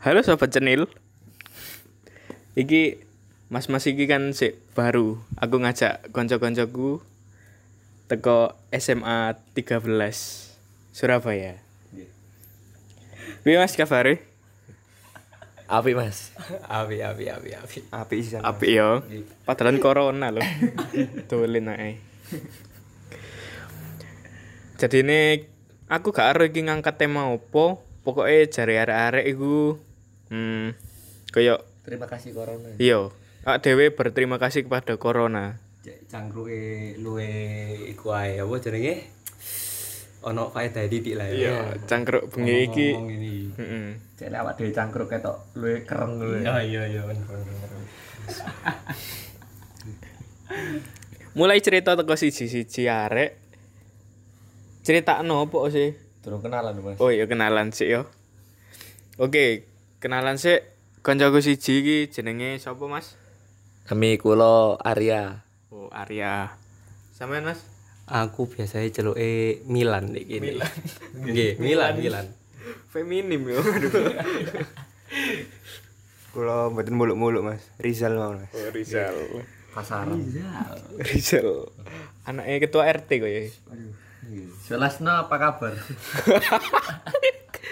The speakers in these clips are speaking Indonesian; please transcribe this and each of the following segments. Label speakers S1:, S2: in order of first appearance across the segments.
S1: Halo sobat cenil. Iki Mas Mas iki kan sik baru. Aku ngajak kanca-kancaku teko SMA 13 Surabaya. Piye Mas kabare?
S2: Api mas
S3: Api, api, api, api.
S2: Api sih
S1: Apik yo. Padahal corona lho. Dolen ae. Jadi ini aku gak ero iki ngangkat tema opo. Pokoknya jari arek-arek iku hmm koyo
S3: Terima kasih corona.
S1: Iya, Pak Dewi berterima kasih kepada Corona.
S3: Cangkruke luwe iku ae apa jenenge? Ono faedah titik lah ya.
S1: cangkruk bengi iki.
S3: Ngomong ini.
S1: Heeh.
S3: Cek lek awak dhewe cangkruk ketok luwe kereng lho. Iya iya iya bener bener, bener.
S1: Mulai cerita teko siji-siji arek. Critakno opo sih?
S2: Turun kenalan mas
S1: Oh iya kenalan sih yo. Oke, kenalan sih kancaku siji iki jenenge sapa Mas?
S2: Kami kulo Arya
S1: Oh, Arya. Sampean Mas?
S3: Aku biasanya celuke Milan nek kene. Nggih, Milan, Milan.
S1: Feminim yo.
S4: Kulo mboten muluk-muluk Mas. Rizal mawon Mas.
S1: Oh, Rizal.
S3: Pasaran.
S1: Rizal. Anaknya ketua RT kok ya.
S3: Jelasno apa kabar?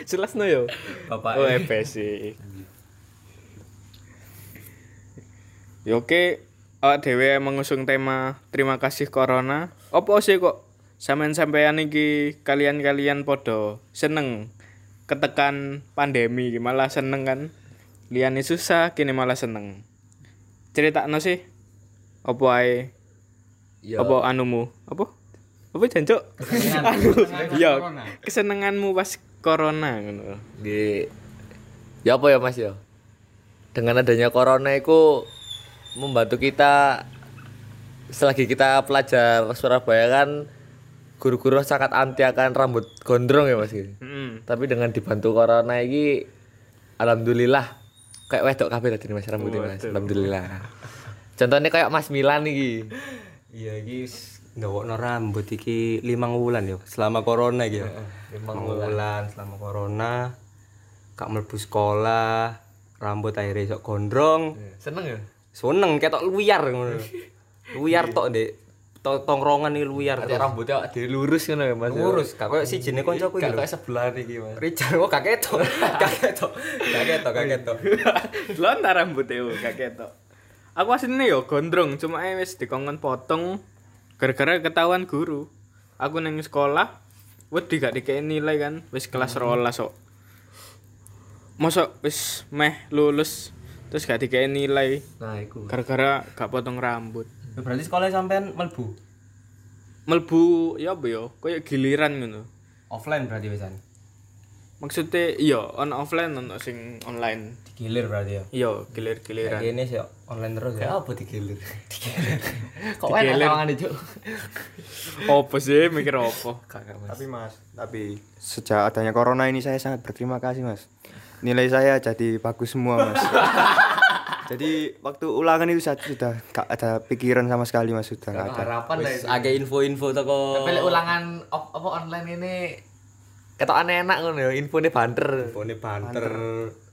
S1: Jelas no yo.
S3: Bapak.
S1: Oh, EPC. Ya oke, awak dhewe mengusung tema terima kasih corona. Apa sih kok sampean sampean iki kalian-kalian podo seneng ketekan pandemi iki, malah seneng kan. Liane susah kini malah seneng. Ceritakno sih apa ae?
S2: Yo.
S1: Apa anumu? Apa? Apa jancuk? Ya, kesenenganmu pas corona ngono.
S2: Di Ya apa ya mas ya Dengan adanya corona itu Membantu kita Selagi kita pelajar Surabaya kan Guru-guru sangat anti akan rambut gondrong ya mas gitu.
S1: Heeh.
S3: Hmm.
S2: Tapi dengan dibantu corona ini Alhamdulillah Kayak wedok kabeh tadi mas rambutnya mas Alhamdulillah Contohnya kayak mas Milan nih
S3: Iya iki wis ndawakno rambut iki limang wulan ya selama corona iki. ya. Limang wulan selama corona kak mlebu sekolah, rambut akhirnya sok gondrong.
S2: Seneng ya?
S3: Seneng ketok luyar ngono. Luyar tok, Dek. To- Tongkrongan iki luyar
S2: Nanti
S3: tok.
S2: rambutnya awak dhewe lurus ngono ya Mas.
S3: Ngurus kak koyo sijine kancaku iki
S2: Gak
S3: lho.
S2: kayak sebelah iki Mas.
S3: Rijal kok gak ketok. Gak ketok. Gak ketok, gak ketok.
S1: Lontar rambutnya yo e, gak ketok. Aku aslinya yo gondrong, cuma eh wis dikongkon potong gara-gara ketahuan guru. Aku nang sekolah wedi gak dikei nilai kan, wis kelas 12 sok. Mosok wis meh lulus terus gak dikei nilai
S3: Nah, iku.
S1: gara-gara gak potong rambut.
S3: Berarti sekolah sampean mlebu
S1: Melbu ya apa yo, koyo giliran ngono.
S3: offline berarti wisan.
S1: Maksudnya iya on offline ono sing online.
S3: Digilir berarti ya.
S1: Iya, gilir-giliran.
S3: Kene sih online terus ya. apa digilir?
S2: Kok enak tangan itu?
S1: Opo sih mikir opo?
S4: Tapi Mas, tapi sejak adanya corona ini saya sangat berterima kasih Mas. Nilai saya jadi bagus semua Mas. jadi waktu ulangan itu saya sudah gak ada pikiran sama sekali Mas sudah gak ada.
S2: Harapan lah itu.
S3: Agak info-info toko.
S2: Tapi lek ulangan op- apa online ini ketokane enak ngono ya, infone banter.
S3: Handphone banter,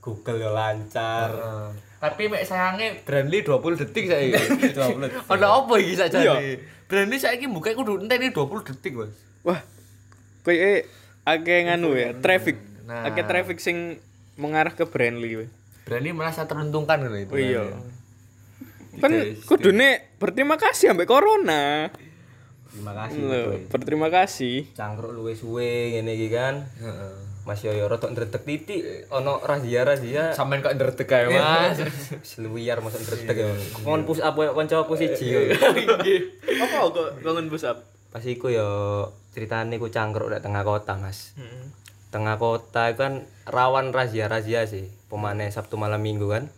S3: Google ya lancar.
S2: Tapi mek sayange Brandly 20 detik saiki.
S3: 20 detik. Iya.
S2: Ono apa iki sakjane? Brandly saiki buka kudu enteni 20 detik, Mas.
S1: Wah, kayak agak nganu ya, traffic,
S2: Nah.
S1: agak traffic sing mengarah ke Brandly. we.
S3: Nah.
S2: Brandly merasa teruntukkan ngono itu.
S1: Oh iya. Kan kudune berterima kasih ambek corona.
S3: Terima kasih.
S1: Loh, berterima kasih.
S3: Cangkruk luwe suwe ngene iki kan. Heeh. Mas yo yo rodok ndredeg titik ono razia-razia.
S2: Sampeyan kok nderdek ae, Mas.
S3: Seluyar masuk ndredeg ya. Kon push up koyo kancaku siji. yo.
S1: Apa kok bangun bus up?
S3: Pas iku yo ceritane ku cangkruk di tengah kota, Mas.
S2: Hmm.
S3: Tengah kota itu kan rawan razia-razia sih. Pemane Sabtu malam Minggu kan.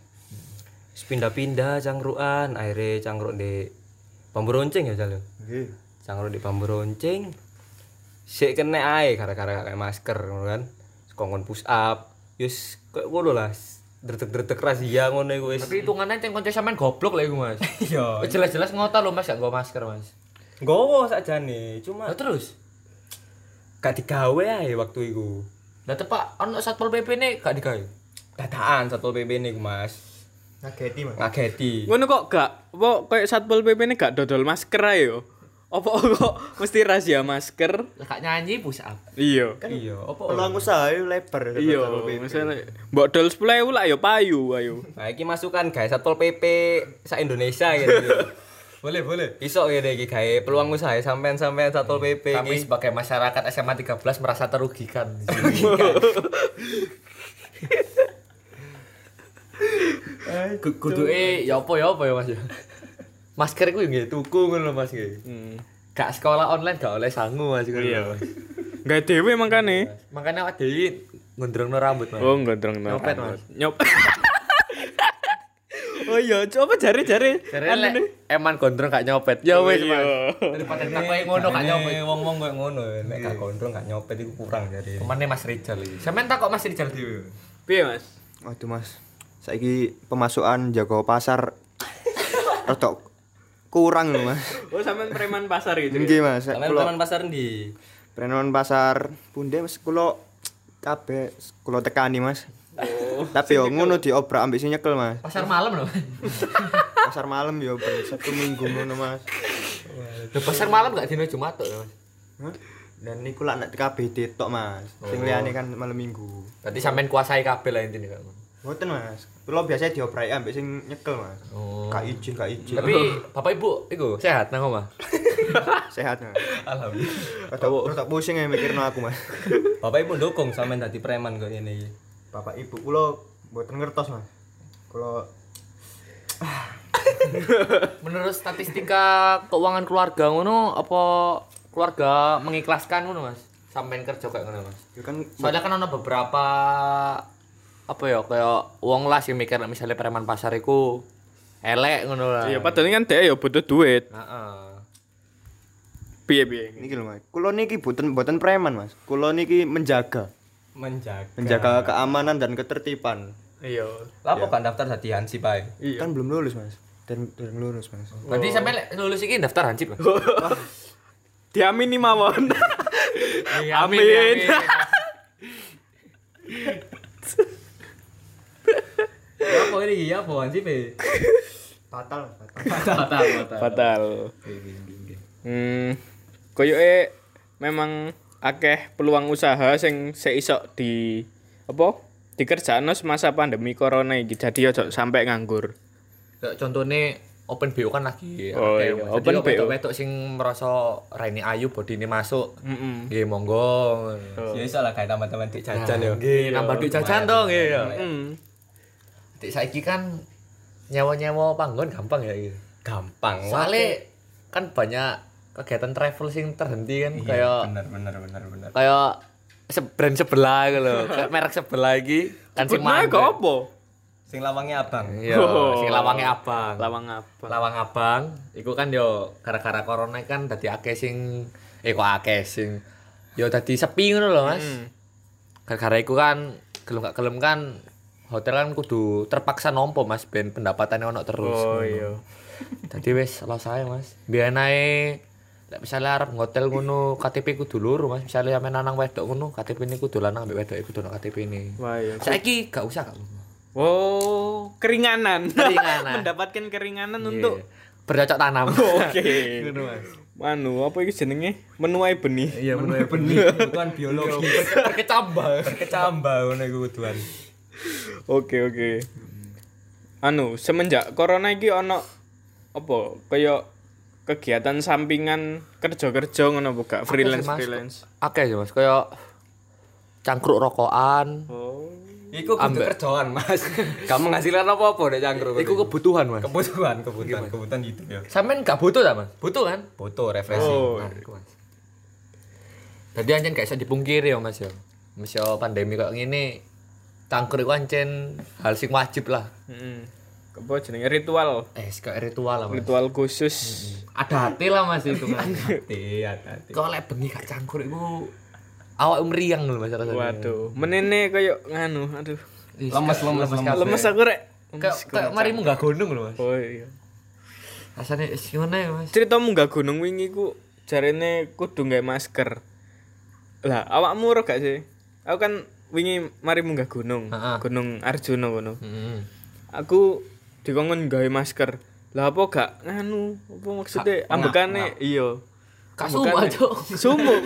S3: Terus pindah-pindah cangkruan, akhirnya cangkruk di Bambu Ronceng ya, Jal. ya?
S4: Nggih.
S3: cangkruk di bambu roncing sik kena ae gara-gara gak pakai masker ngono kan kongkon push up yus kayak ngono lah dretek-dretek razia ngono iku wis
S2: Tapi hitungannya ceng konco sampean goblok lah iku, Mas.
S3: iya
S2: Jelas-jelas ngota lho Mas gak nggo masker, Mas.
S3: nggowo sakjane cuma
S2: Lah terus
S3: gak digawe ae waktu iku
S2: Lah tepak ono Satpol PP ne gak digawe.
S5: dadaan satpol pp ini mas
S4: Ngageti, Mas.
S5: ngageti
S1: Ngono kok gak apa kayak Satpol PP ini gak dodol masker ayo. Apa kok mesti razia masker?
S6: lekak nyanyi push up
S1: Iya.
S5: iya apa
S4: Peluang usaha itu lebar.
S1: Iya, misalnya mbok dol 10.000 lah ya payu ayo.
S5: nah ini masukan guys satpol pp sa Indonesia gitu boleh boleh iso ya deh guys peluang usaha sampean sampean satpol pp
S3: Kami
S5: iki.
S3: sebagai masyarakat SMA 13 merasa terugikan. Kudu eh ya apa ya apa ya Mas. ya? Masker iku nggih tuku ngono Mas nggih.
S1: Hmm.
S3: Gak sekolah online gak oleh sangu Mas ngono.
S1: Iya. Gak dewe makane.
S3: Makanya awak dhewe ngendrongno rambut Mas.
S1: Oh, gondrong no.
S3: Nyopet, Mas.
S1: Nyop. oh iya, coba jari-jari. Oh,
S3: Jare
S1: Anu
S3: lek
S1: nih.
S3: eman gondrong gak nyopet.
S1: Ya wis, Mas.
S3: Daripada takoi ngono gak nyopet.
S5: wong wong kayak ngono nek gak gondrong gak nyopet itu kurang jadi
S3: Temane Mas Rijal iki. Sampeyan takok Mas Rijal dhewe.
S1: Piye, Mas?
S4: Waduh mas, saiki pemasukan jago pasar retok kurang loh mas.
S1: Oh, sampean preman pasar gitu.
S4: Nggih mas,
S5: sampean
S4: kalau
S5: teman pasar di
S4: preman pasar bunda mas kalau kabeh kalau tekani mas. Tapi yo ngono diobrak ambek si nyekel mas.
S6: pasar malam loh
S4: Pasar malam yo ben satu minggu ngono mas.
S3: Lah pasar malam gak dino Jumat tok ya Mas.
S4: Hah? Dan niku lak nek KBD tok mas. Sing liyane kan malam minggu.
S3: Berarti sampean kuasai kabeh lah intine kan.
S4: Ngoten mas. Kulo biasanya diobrak ambek sing nyekel mas.
S3: Oh.
S4: Gak izin, gak izin.
S3: Tapi Bapak Ibu iku sehat nang omah.
S4: sehat mas.
S3: Alhamdulillah.
S4: Rada rada pusing ya mikirno aku mas.
S5: bapak ibu dukung sampean dadi preman kok ini
S4: bapak ibu kula mboten ngertos mas kula
S6: menurut statistika keuangan keluarga ngono apa keluarga mengikhlaskan ngono mas sampean kerja kayak ngono mas
S4: ya kan
S6: soalnya kan ono beberapa apa ya kayak wong lah sing mikir nek misalnya preman pasar iku elek ngono lah
S1: Iya, padahal kan dia ya butuh duit.
S6: Heeh.
S1: Piye-piye.
S4: niki lho mas kula niki mboten mboten preman mas kula niki menjaga
S5: menjaga
S4: menjaga keamanan dan ketertiban
S1: Iya.
S5: lapo kan daftar dadi hansi bae
S4: kan belum lulus mas dan belum lulus mas
S6: berarti sampean lek lulus iki daftar hansip mas
S3: Oh,
S1: Diamini mawon.
S6: amin,
S1: Amin.
S6: amin.
S3: iya,
S5: lapo ini ya apa hansi bae
S4: fatal mas fatal
S1: Fatal. Hmm. Koyoke memang akeh peluang usaha sing seisok di apa? Dikerjakno semasa pandemi corona iki. Jadi ojo sampai nganggur.
S3: Kayak contohnya open BO kan lagi
S1: Oh,
S3: akeh,
S1: iya,
S3: Mas.
S1: open
S3: Jadi
S1: BO.
S3: Wedok-wedok sing merasa Reni Ayu bodine masuk.
S6: Hmm.
S1: Mm-mm.
S3: Nggih monggo.
S6: Oh.
S3: Nah,
S5: ya iso lah kayak teman-teman di jajan ya
S3: Nggih nambah duit jajan to nggih ya.
S6: Iya.
S1: Hmm.
S3: Dik saiki kan nyewa-nyewa panggon gampang ya gitu.
S5: gampang
S3: Soalnya kan banyak kegiatan travel sing terhenti kan kayak
S5: bener bener bener bener
S3: kayak se- brand sebelah gitu loh. Kayak merek sebelah iki kan sing
S1: Benar
S3: mandek.
S1: kok apa?
S5: sing lawangnya abang
S3: Iya, sing lawange abang.
S1: Lawang apa?
S3: Lawang Abang iku kan yo gara-gara corona kan dadi akeh sing eh kok akeh sing yo dadi sepi ngono lho Mas.
S1: Hmm.
S3: Gara-gara iku kan gelem gak gelem kan hotel kan kudu terpaksa nompo Mas ben pendapatannya ono terus.
S1: Oh
S3: ngono.
S1: iya.
S3: Dadi wis lo saya Mas. Biyen ae lek misalnya arep hotel ngono KTP kudu loro Mas. Misalnya sampe nanang wedok ngono KTP ini kudu lanang ambek wedok e kudu ono KTP ini.
S1: Wah iya.
S3: Saiki gak usah gak apa-apa.
S1: Oh, keringanan.
S3: Keringanan.
S1: Mendapatkan keringanan untuk
S3: Iya. berdocok tanam.
S1: Oh. Oke. Manu, Anu, apa iki jenenge? Menuai benih.
S3: Iya bener Iya.
S5: benih kebutuhan biologi
S3: kecambah.
S5: kecambah ngono iku kebutuhan
S1: Oke, oke. Anu, semenjak corona iki ono apa kaya kegiatan sampingan kerja-kerja ngono apa gak freelance
S3: Mas.
S1: freelance.
S3: Oke sih ya, mas, kayak cangkruk rokokan.
S1: Oh.
S5: iku kudu kerjaan mas gak menghasilkan apa-apa nek cangkruk
S3: Iku kebutuhan mas.
S5: kebutuhan kebutuhan kebutuhan gitu ya
S3: Sampean gak butuh tak mas? Butuh kan?
S5: butuh refreshing
S1: Oh.
S3: Nah, iku, Mas. Jadi anjen gak bisa dipungkiri ya mas ya. Mas ya pandemi kayak gini, cangkruk itu anjen hal sing wajib lah.
S1: Heeh. Apa jenenge ritual?
S3: Eh, kayak ritual lah mas.
S1: Ritual khusus.
S6: ada hati lah mas itu mas
S5: hati hati
S3: Kau lek bengi gak cangkruk itu awak meriang loh mas rasanya.
S1: Waduh, menene kaya nganu, aduh.
S3: Ih,
S5: Lemes,
S3: kayak-
S5: lemes,
S3: kabeh.
S1: Lemes aku rek.
S3: Kayak kayak marimu gak gunung loh mas.
S1: Oh iya.
S3: Rasanya eh, gimana ya mas?
S1: Ceritamu gak gunung wingi ku jarene kudu nggae masker. Lah, awakmu ora gak sih? Aku kan wingi mari munggah gunung,
S3: Ha-ha.
S1: Gunung Arjuna ngono.
S3: Heeh.
S1: Aku dikongkon gawe masker. Lah apa gak nganu? Apa maksudnya ambekane? Iya.
S3: Kasum
S1: Ambekane.
S3: aja.
S1: Sumuk.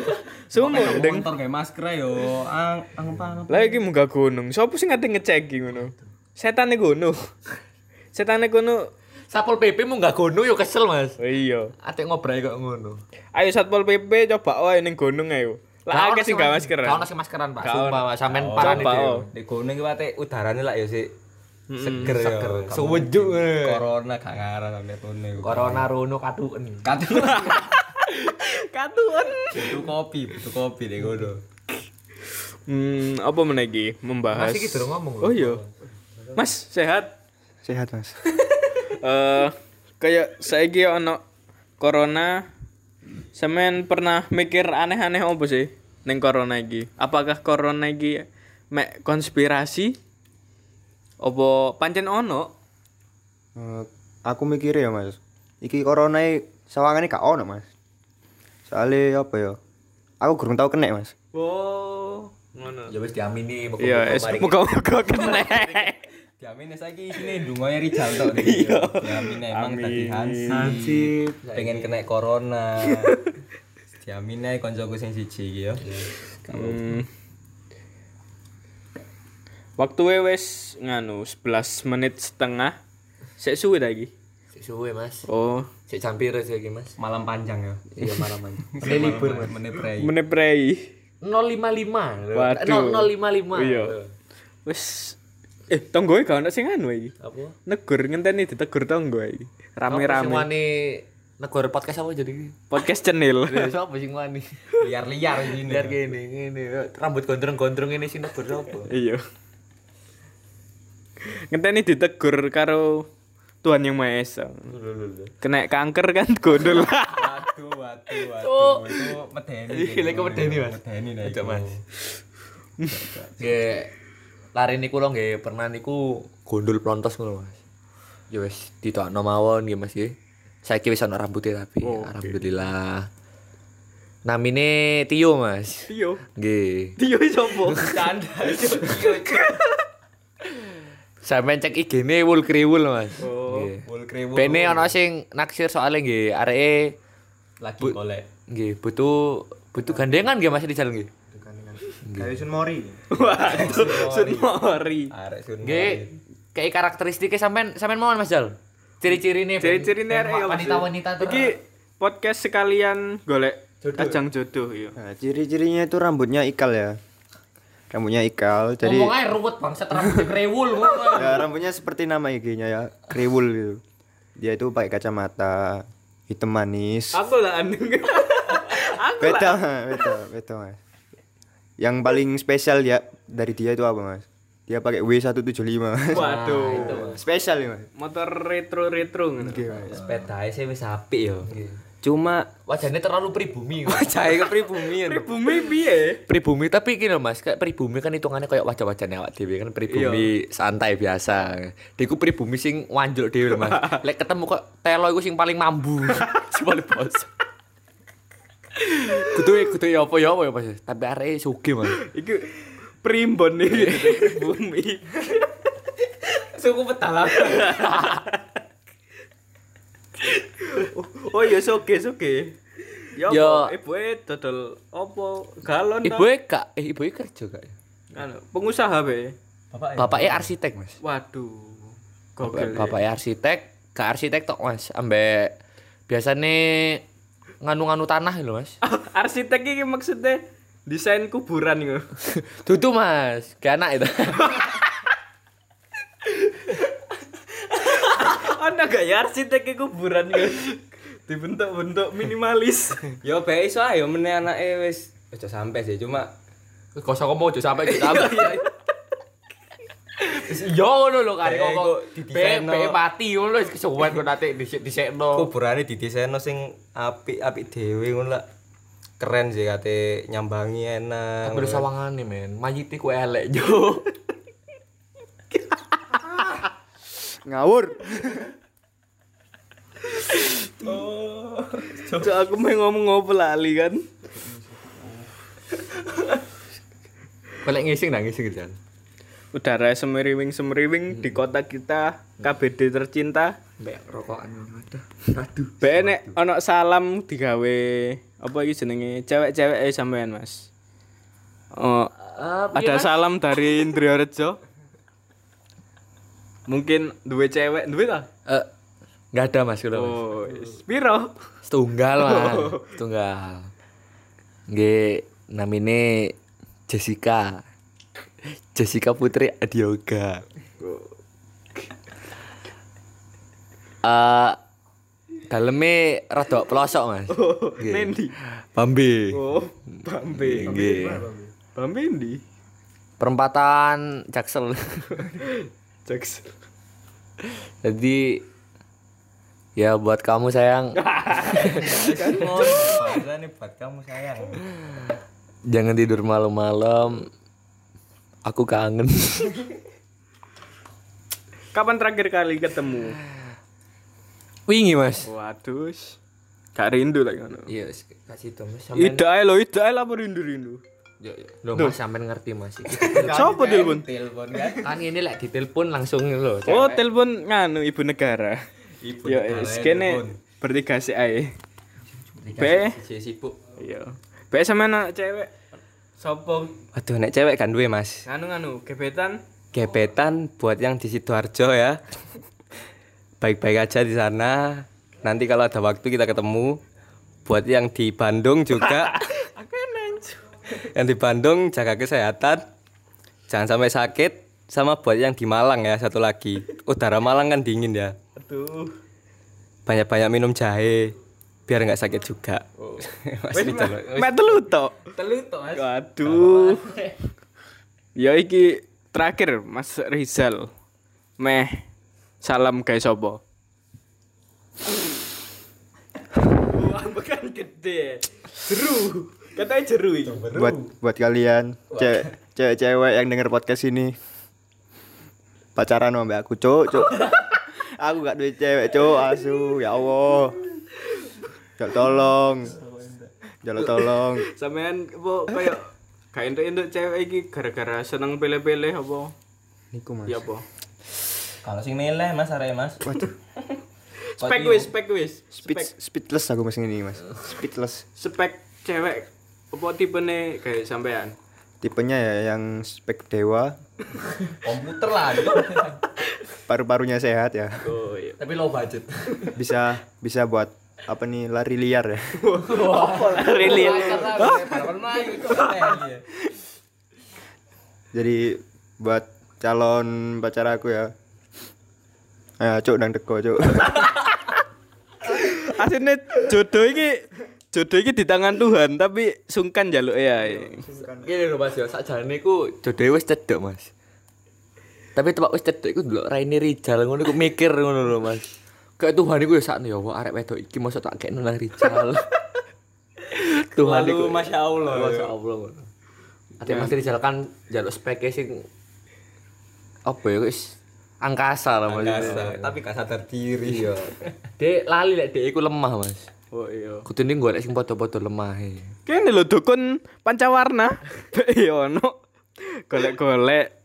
S1: Sumuk deng.
S7: Motor kayak masker yo. Ang ang apa?
S1: Lah iki munggah gunung. Sopo sing ngate ngecek iki ngono? Setane ngono. Setane kono.
S3: Sapol PP mu nggak gono yo kesel mas.
S1: Oh, Iya.
S3: Ate ngobrol kok ngono.
S1: Ayo Satpol PP coba wae ning gunung ayo. Lah akeh sing gak masker.
S3: Kau nasi maskeran pak.
S1: Gak
S3: Sumpah
S1: ono.
S3: pak. Sampean parah
S1: Coba
S3: nih.
S1: oh.
S7: Di gunung iki pate udarane lah yo sih. Seger yo.
S3: Sewejuk. eh.
S7: Corona gak ngarang sampe kono iku.
S3: Corona Rono katuken.
S7: Katu
S1: Katuan.
S7: butuh kopi, butuh kopi di kono.
S1: Hmm, apa meneh iki membahas?
S3: Mas iki durung ngomong lho.
S1: Oh iya. Mas sehat?
S4: Sehat, Mas.
S1: Eh kayak saiki ono corona semen pernah mikir aneh-aneh apa sih ning corona iki? Apakah corona iki mek konspirasi? Apa pancen ono?
S4: Eh, aku mikir ya, Mas. Iki corona sawangane gak ono, Mas. Soale apa ya? Aku gurung tau kena, Mas.
S1: Oh, ngono.
S3: Ya wis diamini. pokoknya
S1: Iya, es muka-muka kena.
S7: Diamin ya saiki isine ndungoe Rijal tok iki. Diamin ya, emang tadi Hansi. Pengen kena corona. Diamin ae koncoku sing siji iki yo.
S1: Hmm. Waktu wes nganu 11 menit setengah. Sek suwe ta iki?
S3: Sik suwe mas.
S1: Oh,
S3: Sik campir sih iki mas.
S7: Malam panjang yo.
S3: Iya marah mas.
S7: Ini libur menit prei.
S1: menit prei.
S3: 055.
S1: Waduh.
S3: 055.
S1: Iya. Wes eh tonggoe gak ono sing anu iki.
S3: Apa?
S1: Negur ngenteni ditegur tonggo iki.
S3: Sing
S1: Rame-rame.
S3: wani negara podcast apa jadi?
S1: Podcast cenil.
S3: Lha sapa sing wani?
S7: Liar-liar ini.
S3: Biar gini, gini. Rambut gondrong-gondrong ini sih negara apa?
S1: Iya. Ngenteni ditegur karo Tuhan Yang Maha Esa. Kena kanker kan gondol.
S7: Waduh, waduh, waduh. Itu medeni.
S3: Ih, lek medeni, Mas.
S7: Medeni nek.
S3: Ajak,
S7: iku.
S3: Mas. Nggih lari niku lho nggih pernah niku gondol plontos ngono Mas. Ya wis ditokno mawon nggih Mas nggih. Saiki wis ana rambutnya tapi
S7: Oh,
S3: alhamdulillah. Namine Tio Mas.
S1: Tio.
S3: Nggih.
S1: Tio sapa?
S7: Canda.
S3: Sampeyan cek IG-ne wul kriwul Mas.
S1: Oh,
S3: Nggih.
S7: Wol krewo.
S3: Bene ana sing naksir soalnya nggih areke
S7: lagi golek.
S3: nggih butuh butuh gandengan nggih Mas Rizal nggih.
S4: Kayak Sun Mori.
S1: Waduh, sun mori.
S7: Arek sun.
S3: Nggih kayak karakteristiknya sampean sampean mawon Mas Jal. Ciri-cirine
S1: Ciri-ciri nek ya, Mas.
S3: wanita-wanita ter-
S1: Iki podcast sekalian golek ajang jodoh ya.
S4: Nah, ciri-cirinya itu rambutnya ikal ya. Rambutnya ikal, jadi
S3: ngomong aja ruwet bangsa rambut krewul ngono.
S4: ya rambutnya seperti nama IG-nya ya, kriwul gitu. Dia itu pakai kacamata hitam manis.
S1: Aku lah anu. Aku
S4: Beda, beda, beda, Mas. Yang paling spesial ya dari dia itu apa, Mas? Dia pakai W175. Mas.
S1: waduh.
S4: spesial ya, Mas.
S1: Motor retro-retro ngono.
S7: Sepedae sih wis apik yo.
S4: Cuma
S3: ya. Wajahnya terlalu pribumi. ngono.
S7: Cai ke pribumi.
S1: Pribumi piye?
S3: pribumi tapi gini loh Mas, kayak pribumi kan hitungannya kayak wajah-wajahnya awak dhewe kan pribumi santai biasa. Diku pribumi sing wanjuk dhewe loh Mas. Lek ketemu kok telo iku sing paling mambu. sing paling bos. Kudu kudu ya apa ya apa ya Mas. Tapi arek sugih Mas.
S1: Iku primbon iki pribumi.
S7: Suku petalang.
S1: Oh iya soge soge. Ya
S3: Ya.
S1: apa? ibu e dodol opo galon ta?
S3: Ibuke gak eh ibuke kerja gak ya?
S1: Anu, pengusaha be.
S7: Bapak
S3: Bapaknya arsitek Mas.
S1: Waduh.
S3: Bapak,
S1: Gokil.
S3: bapak ya arsitek, ke arsitek tok mas, ambek biasanya nganu-nganu tanah lho mas.
S1: Arsitek iki maksudnya desain kuburan iku.
S3: Dudu mas, gak enak itu.
S1: Ana gak ya arsitek iki kuburan iku. Dibentuk-bentuk minimalis.
S7: Yo bae iso ayo meneh anake wis aja sampe sih cuma
S3: Gak usah ngomong aja sampai kita. Yo Iya, ngono lho kare
S7: Be,
S3: Eh, kok
S7: kok
S3: be
S7: didesaino.
S3: be mati ngono lho wis kesuwen kok nate disik disekno.
S7: kuburane dideseno sing apik-apik dhewe ngono lah. Keren sih kate nyambangi enak.
S3: Kudu sawangane men, mayite ku elek yo.
S4: ngawur.
S1: Cok aku mau ngomong ngopo lali kan.
S3: Pelek ngising nang ngising Jan.
S1: Udara semeriwing-semeriwing di kota kita KBD tercinta.
S3: Mbak rokokan aduh. Aduh.
S1: Bae nek ana salam digawe apa iki jenenge cewek-cewek eh, sampean, Mas. Oh,
S3: Ah,
S1: ada salam dari Indra Rejo. Mungkin duwe cewek, duwe ta?
S3: Eh enggak ada Mas kalau. Mas.
S1: Oh, is- piro?
S3: Setunggal Mas. Setunggal. Nggih namine Jessica. Jessica Putri Adioga. Eh daleme rada pelosok Mas. Nggih.
S1: Nendi.
S3: Pambi.
S1: Oh, Bambi.
S3: Nggih.
S1: Bambi ndi?
S3: Perempatan Jaksel.
S1: Jaks.
S3: Jadi ya buat kamu sayang Kan
S7: ini buat kamu sayang.
S3: jangan tidur malam-malam. Aku kangen.
S1: Kapan terakhir kali ketemu?
S3: Wingi, Mas.
S1: Waduh. Gak rindu lagi ngono.
S3: Iya, wis, kasih to, Mas. Sampean-
S1: Ida ae lho, ida ae lah apa rindu-rindu.
S3: Yo, yo. Loh, Mas sampean ngerti, Mas. Iki
S1: Sopo telepon?
S3: kan ini lek ditelepon langsung lho.
S1: Oh, telepon nganu ibu negara. Ibu Yo, negara. kene bertiga sik ae. Be.
S7: sibuk.
S1: Yo. Be sama anak cewek. Sopo
S7: Aduh, nek cewek kan duwe, Mas.
S1: nganu nganu gebetan
S7: Gebetan buat yang di Sidoarjo ya. Baik-baik aja di sana. Nanti kalau ada waktu kita ketemu. Buat yang di Bandung juga. yang di Bandung jaga kesehatan. Jangan sampai sakit. Sama buat yang di Malang ya satu lagi. Udara Malang kan dingin ya.
S1: aduh
S7: Banyak-banyak minum jahe biar nggak sakit juga. Mas, ini jalan.
S1: mek telu to telu to mas aduh yo Ya iki terakhir Mas Rizal meh salam guys sopo bukan gede jeru katanya jeru iki
S4: buat buat kalian ce- cewek-cewek yang denger podcast ini pacaran sama mbak aku cuk cuk aku gak duit cewek cuk asu ya allah Jal tolong Jal tolang
S1: sampean apa kaya gak entuk-entuk cewek iki gara-gara seneng pele-pele apa
S4: Niku mas
S1: ya apa
S7: Kalau sing meleh Mas arek Mas.
S4: Waduh
S1: spek wis spek wis
S4: speed, speedless aku mas ini mas Speedless
S1: spek cewek apa tipe nih kayak sampean
S4: Tipenya ya yang spek dewa
S7: Komputer lah. gitu.
S4: Paru-parunya sehat ya
S1: oh iya
S3: Tapi low budget.
S4: Bisa bisa buat apa nih lari liar ya
S1: Oh, really
S4: Jadi buat calon pacar aku ya. Eh, cuk nang teko, cuk.
S1: aslinya jodoh ini jodoh ini di tangan Tuhan tapi sungkan jaluk ya
S3: Gini lho, Mas, ya. Sakjane iku jodohe wis cedek, Mas. Tapi tempat wis cedek iku ndelok Raine Rijal ngono iku mikir ngono lho, Mas. Kayak Tuhan iku ya sakno ya, wah arek wedok iki mosok tak kekno nang Rijal. Tuhan iku
S7: Masya Allah.
S3: Masya Allah ngono. Ate Mas Rijal kan jaluk speke sing apa ya wis angkasa lah Mas.
S7: tapi gak sadar diri.
S3: Iya. Dek lali lek dek iku lemah, Mas.
S1: oh iya
S3: Kudune golek sing padha-padha lemah e.
S1: kene lho dukun pancawarna iya ono golek-golek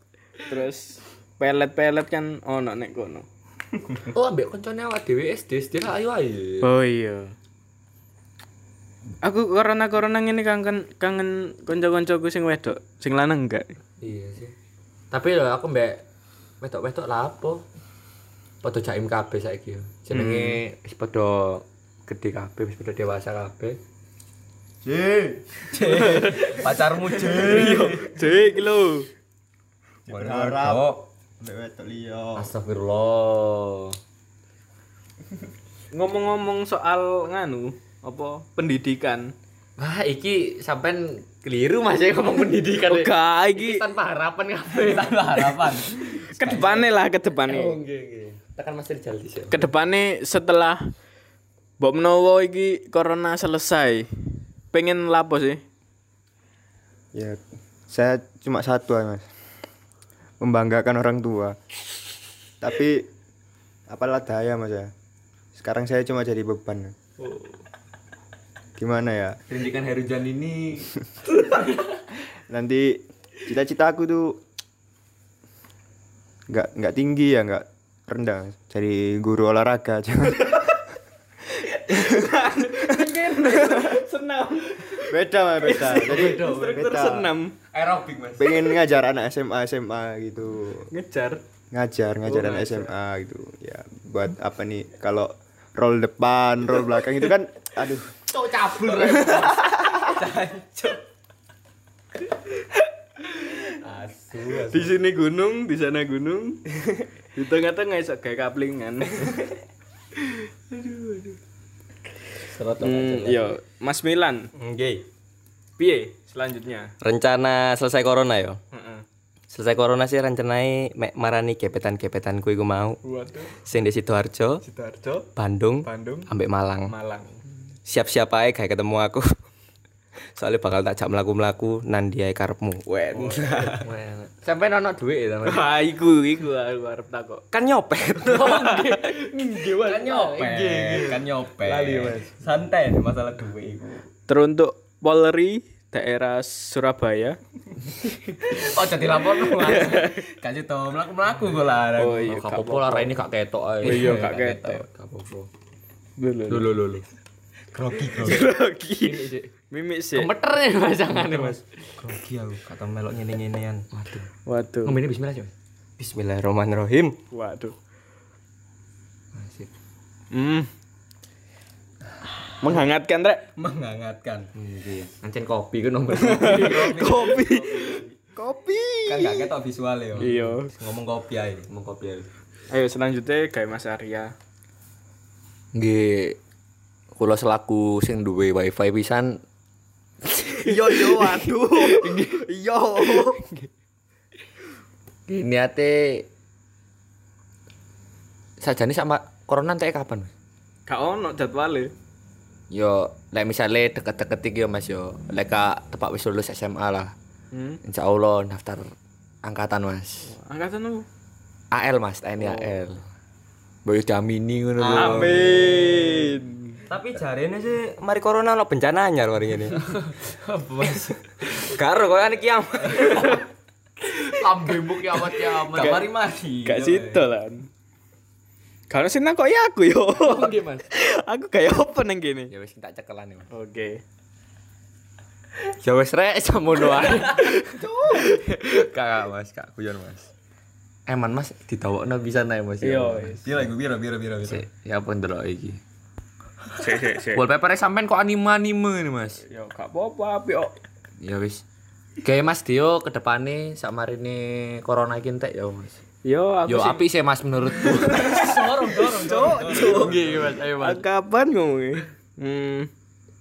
S1: terus pelet-pelet kan ono nek kono
S3: Oh, ambek koncone awak dhewe SD SD lah ayo ayo.
S1: oh iya aku corona corona ini kangen kangen konco-koncoku sing wedok sing lanang enggak
S3: Iya sih. Tapi lho aku mbek wedok-wedok lah apa? Padha jaim kabeh saiki. yo. Jenenge wis padha gede kabeh, wis padha dewasa kabeh.
S7: Pacarmu jeng.
S1: Cek lho.
S4: Berharap
S3: Oh.
S4: wedok liya.
S3: Astagfirullah.
S1: Ngomong-ngomong soal nganu apa pendidikan.
S3: Wah, iki sampean keliru Mas ya ngomong pendidikan.
S1: Oh, gak iki
S3: Iki tanpa harapan kabeh. Oh,
S7: Harapan.
S1: ke depane lah ke depane.
S3: Nggih, nggih. Tekan Mas Rijal dhisik.
S1: Ke depane setelah Mbok menawa iki corona selesai. Pengen lapo sih?
S4: Ya, saya cuma satu, Mas. Membanggakan orang tua. Tapi apalah daya, Mas ya. Sekarang saya cuma jadi beban. Gimana ya?
S3: Pendidikan Herujan ini
S4: Nanti cita-cita aku tuh nggak nggak tinggi ya nggak rendah jadi guru olahraga aja
S1: senam
S4: beda mas beda jadi
S1: instruktur
S4: beda.
S1: senam
S8: Aerobik mas.
S4: pengen ngajar anak SMA SMA gitu
S1: ngejar Oh,
S4: ngajar ngajar anak SMA gitu ya buat apa nih kalau roll depan roll belakang itu kan aduh
S8: Cok cabul.
S1: di sini gunung di sana gunung di tengah-tengah iso kan. kayak kaplingan
S3: Serot loh.
S1: hmm, yo Mas Milan
S7: Nggih.
S1: piye selanjutnya
S7: Rencana selesai corona yo.
S1: Heeh.
S7: Selesai corona sih rencanai mek marani gebetan-gebetanku iku mau.
S1: waduh
S7: Sing di Sidoarjo,
S1: Sidoarjo
S7: Bandung,
S1: Bandung
S7: ambek Malang.
S1: Malang
S7: Siap-siap ae kayak ketemu aku. Soalnya bakal tak jak melaku-melaku nandi ae karepmu. Wen.
S8: Sampai nono duit ya mas.
S1: Wah, Ah, iku iku aku arep takok.
S7: kan nyopet.
S1: Oh,
S8: Kan nyopet. Kan nyopet.
S7: Santai masalah duit iku.
S1: Teruntuk Polri daerah Surabaya.
S8: Oh jadi lapor lu mas. Kasih tau melaku melaku gue lah.
S1: Oh iya,
S3: Gak apa-apa lah, ini gak ketok aja.
S1: Iya, gak ketok.
S3: Gak apa-apa.
S1: Dulu.
S3: Lulu lulu.
S8: Grogi grogi.
S1: Lagi. Mimik sih.
S8: Meter nih mas jangan nih mas.
S7: Grogi aku kata melok ngene-ngenean. Waduh.
S1: Waduh.
S8: Ngomongin Bismillah aja. Mas.
S7: Bismillahirrahmanirrahim.
S1: Waduh. Hmm. Menghangatkan, Rek.
S8: Menghangatkan.
S3: Ancen kopi kan ku nomor.
S1: Kopi. Kopi.
S8: Kan gak ketok visual ya.
S1: Iya.
S8: Ngomong kopi aja. Ngomong kopi aja.
S1: Ayo selanjutnya kayak Mas Arya.
S3: Nggih. Kula selaku sing duwe wifi pisan
S4: yo yo waduh yo
S3: nggih, niate sajane sama corona entek kapan mas?
S1: Gak ono jadwale.
S3: Yo, lek misale deket-deket iki yo Mas yo. Lek kak tepak wis lulus SMA lah.
S1: Hmm.
S3: Insya Allah daftar angkatan Mas.
S1: Angkatan lu.
S3: AL Mas, TNI AL. Boyo damini ngono lho.
S1: Amin.
S7: Tapi jarene sih mari corona lo bencana anyar mari ngene. Karo koyo ane kiamat.
S8: Lambembuk ya amat ya amat. Mari mari.
S1: Gak sido lan. Karena sih nang kok ya aku yo.
S8: Oke mas.
S1: aku kayak apa nang gini.
S3: Ya wis tak cekelan ya. Mas.
S1: Oke.
S3: Ya wis rek semono ae. Kak Mas, kak guyon Mas. Eman Mas ditawokno pisan ae Mas. ya,
S1: Yo.
S3: Mas.
S8: Iya lagu biru biru biru.
S3: Sik, Ya apa ndelok iki.
S1: Sik sik sik.
S3: Wallpaper sampean kok anime-anime ini Mas.
S1: Yo gak apa-apa api kok.
S3: Ya wis. Kayak Mas Dio ke depane sak marine corona iki entek ya Mas.
S1: Yo aku
S3: Yo
S1: sih-
S3: api sih Mas menurutku.
S8: Dorong dorong dorong.
S3: Nggih Mas, ayo
S1: Ah, kapan ngomongnya? Hmm.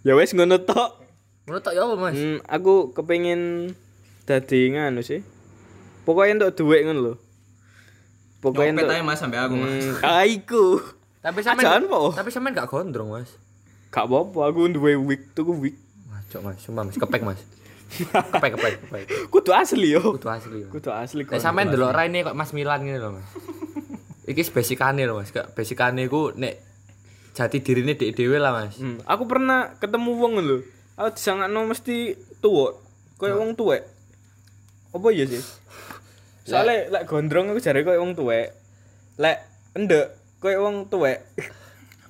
S1: Ya wes ngono tok.
S3: Menurut tak ya apa Mas?
S1: Hmm, aku kepengin dadi nganu sih. Pokoknya untuk duit ngono lho. Pokoknya
S8: Nyopet
S1: untuk
S8: aja mas sampai aku mas.
S1: Hmm, ah, iku.
S3: Tapi
S1: Ajaan
S3: sampean
S1: apa?
S3: Tapi sampean gak gondrong Mas.
S1: Gak apa-apa, aku duwe wig, tuku wig.
S3: Wah, cok Mas, sumpah Mas, kepek Mas. Kepek kepek kepek.
S1: Kudu asli yo.
S3: Kudu asli. Mas.
S1: Kudu asli kok.
S3: Nek sampean delok raine kok Mas Milan ngene lho Mas. Iki basicane lho Mas, gak basicane iku nek jati dirine dhek dhewe lah Mas.
S1: Hmm, aku pernah ketemu wong lho. Aku disangakno mesti tuwa. Kayak wong tuwek. Apa iya sih? Soale lek gondrong aku jare kayak wong tuwek. Lek endek kayak wong tuwek.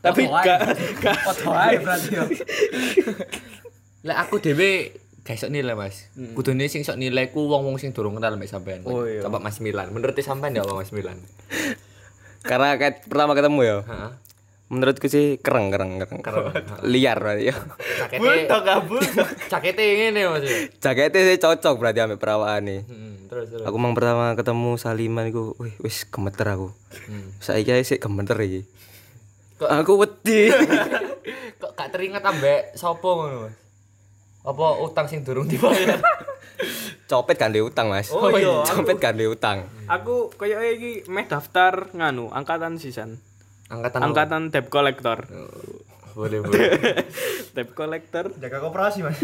S1: Tapi
S8: Potoan.
S1: gak gak
S8: Foto aja berarti ya.
S3: Lek aku dhewe gak iso nilai Mas. Kudune sing sok nilai ku wong-wong sing durung kenal mbek sampean.
S1: Oh, iya.
S3: Coba Mas Milan. Menurut sampean ya apa Mas Milan?
S7: Karena kayak pertama ketemu ya.
S3: Heeh.
S7: Menurutku sih kereng kereng kereng. Liar berarti ya.
S3: Jakete jakete ngene Mas. ya.
S7: Jaketnya sih cocok berarti ambek perawaan nih.
S3: Hmm, terus terus.
S7: Aku mang pertama ketemu Saliman iku, wih wis gemeter aku. Saiki ae sik gemeter iki. Aku wedi.
S3: Kok gak teringat ambek sapa ngono Mas? Apa utang sing durung dibayar?
S7: Copet kan utang, Mas.
S1: Oh, iya.
S7: Copet kan utang.
S1: aku kayak iki meh daftar nganu angkatan sisan.
S3: Angkatan Oh,
S1: Angkatan debt collector.
S3: boleh boleh.
S1: debt collector
S4: jaga koperasi mas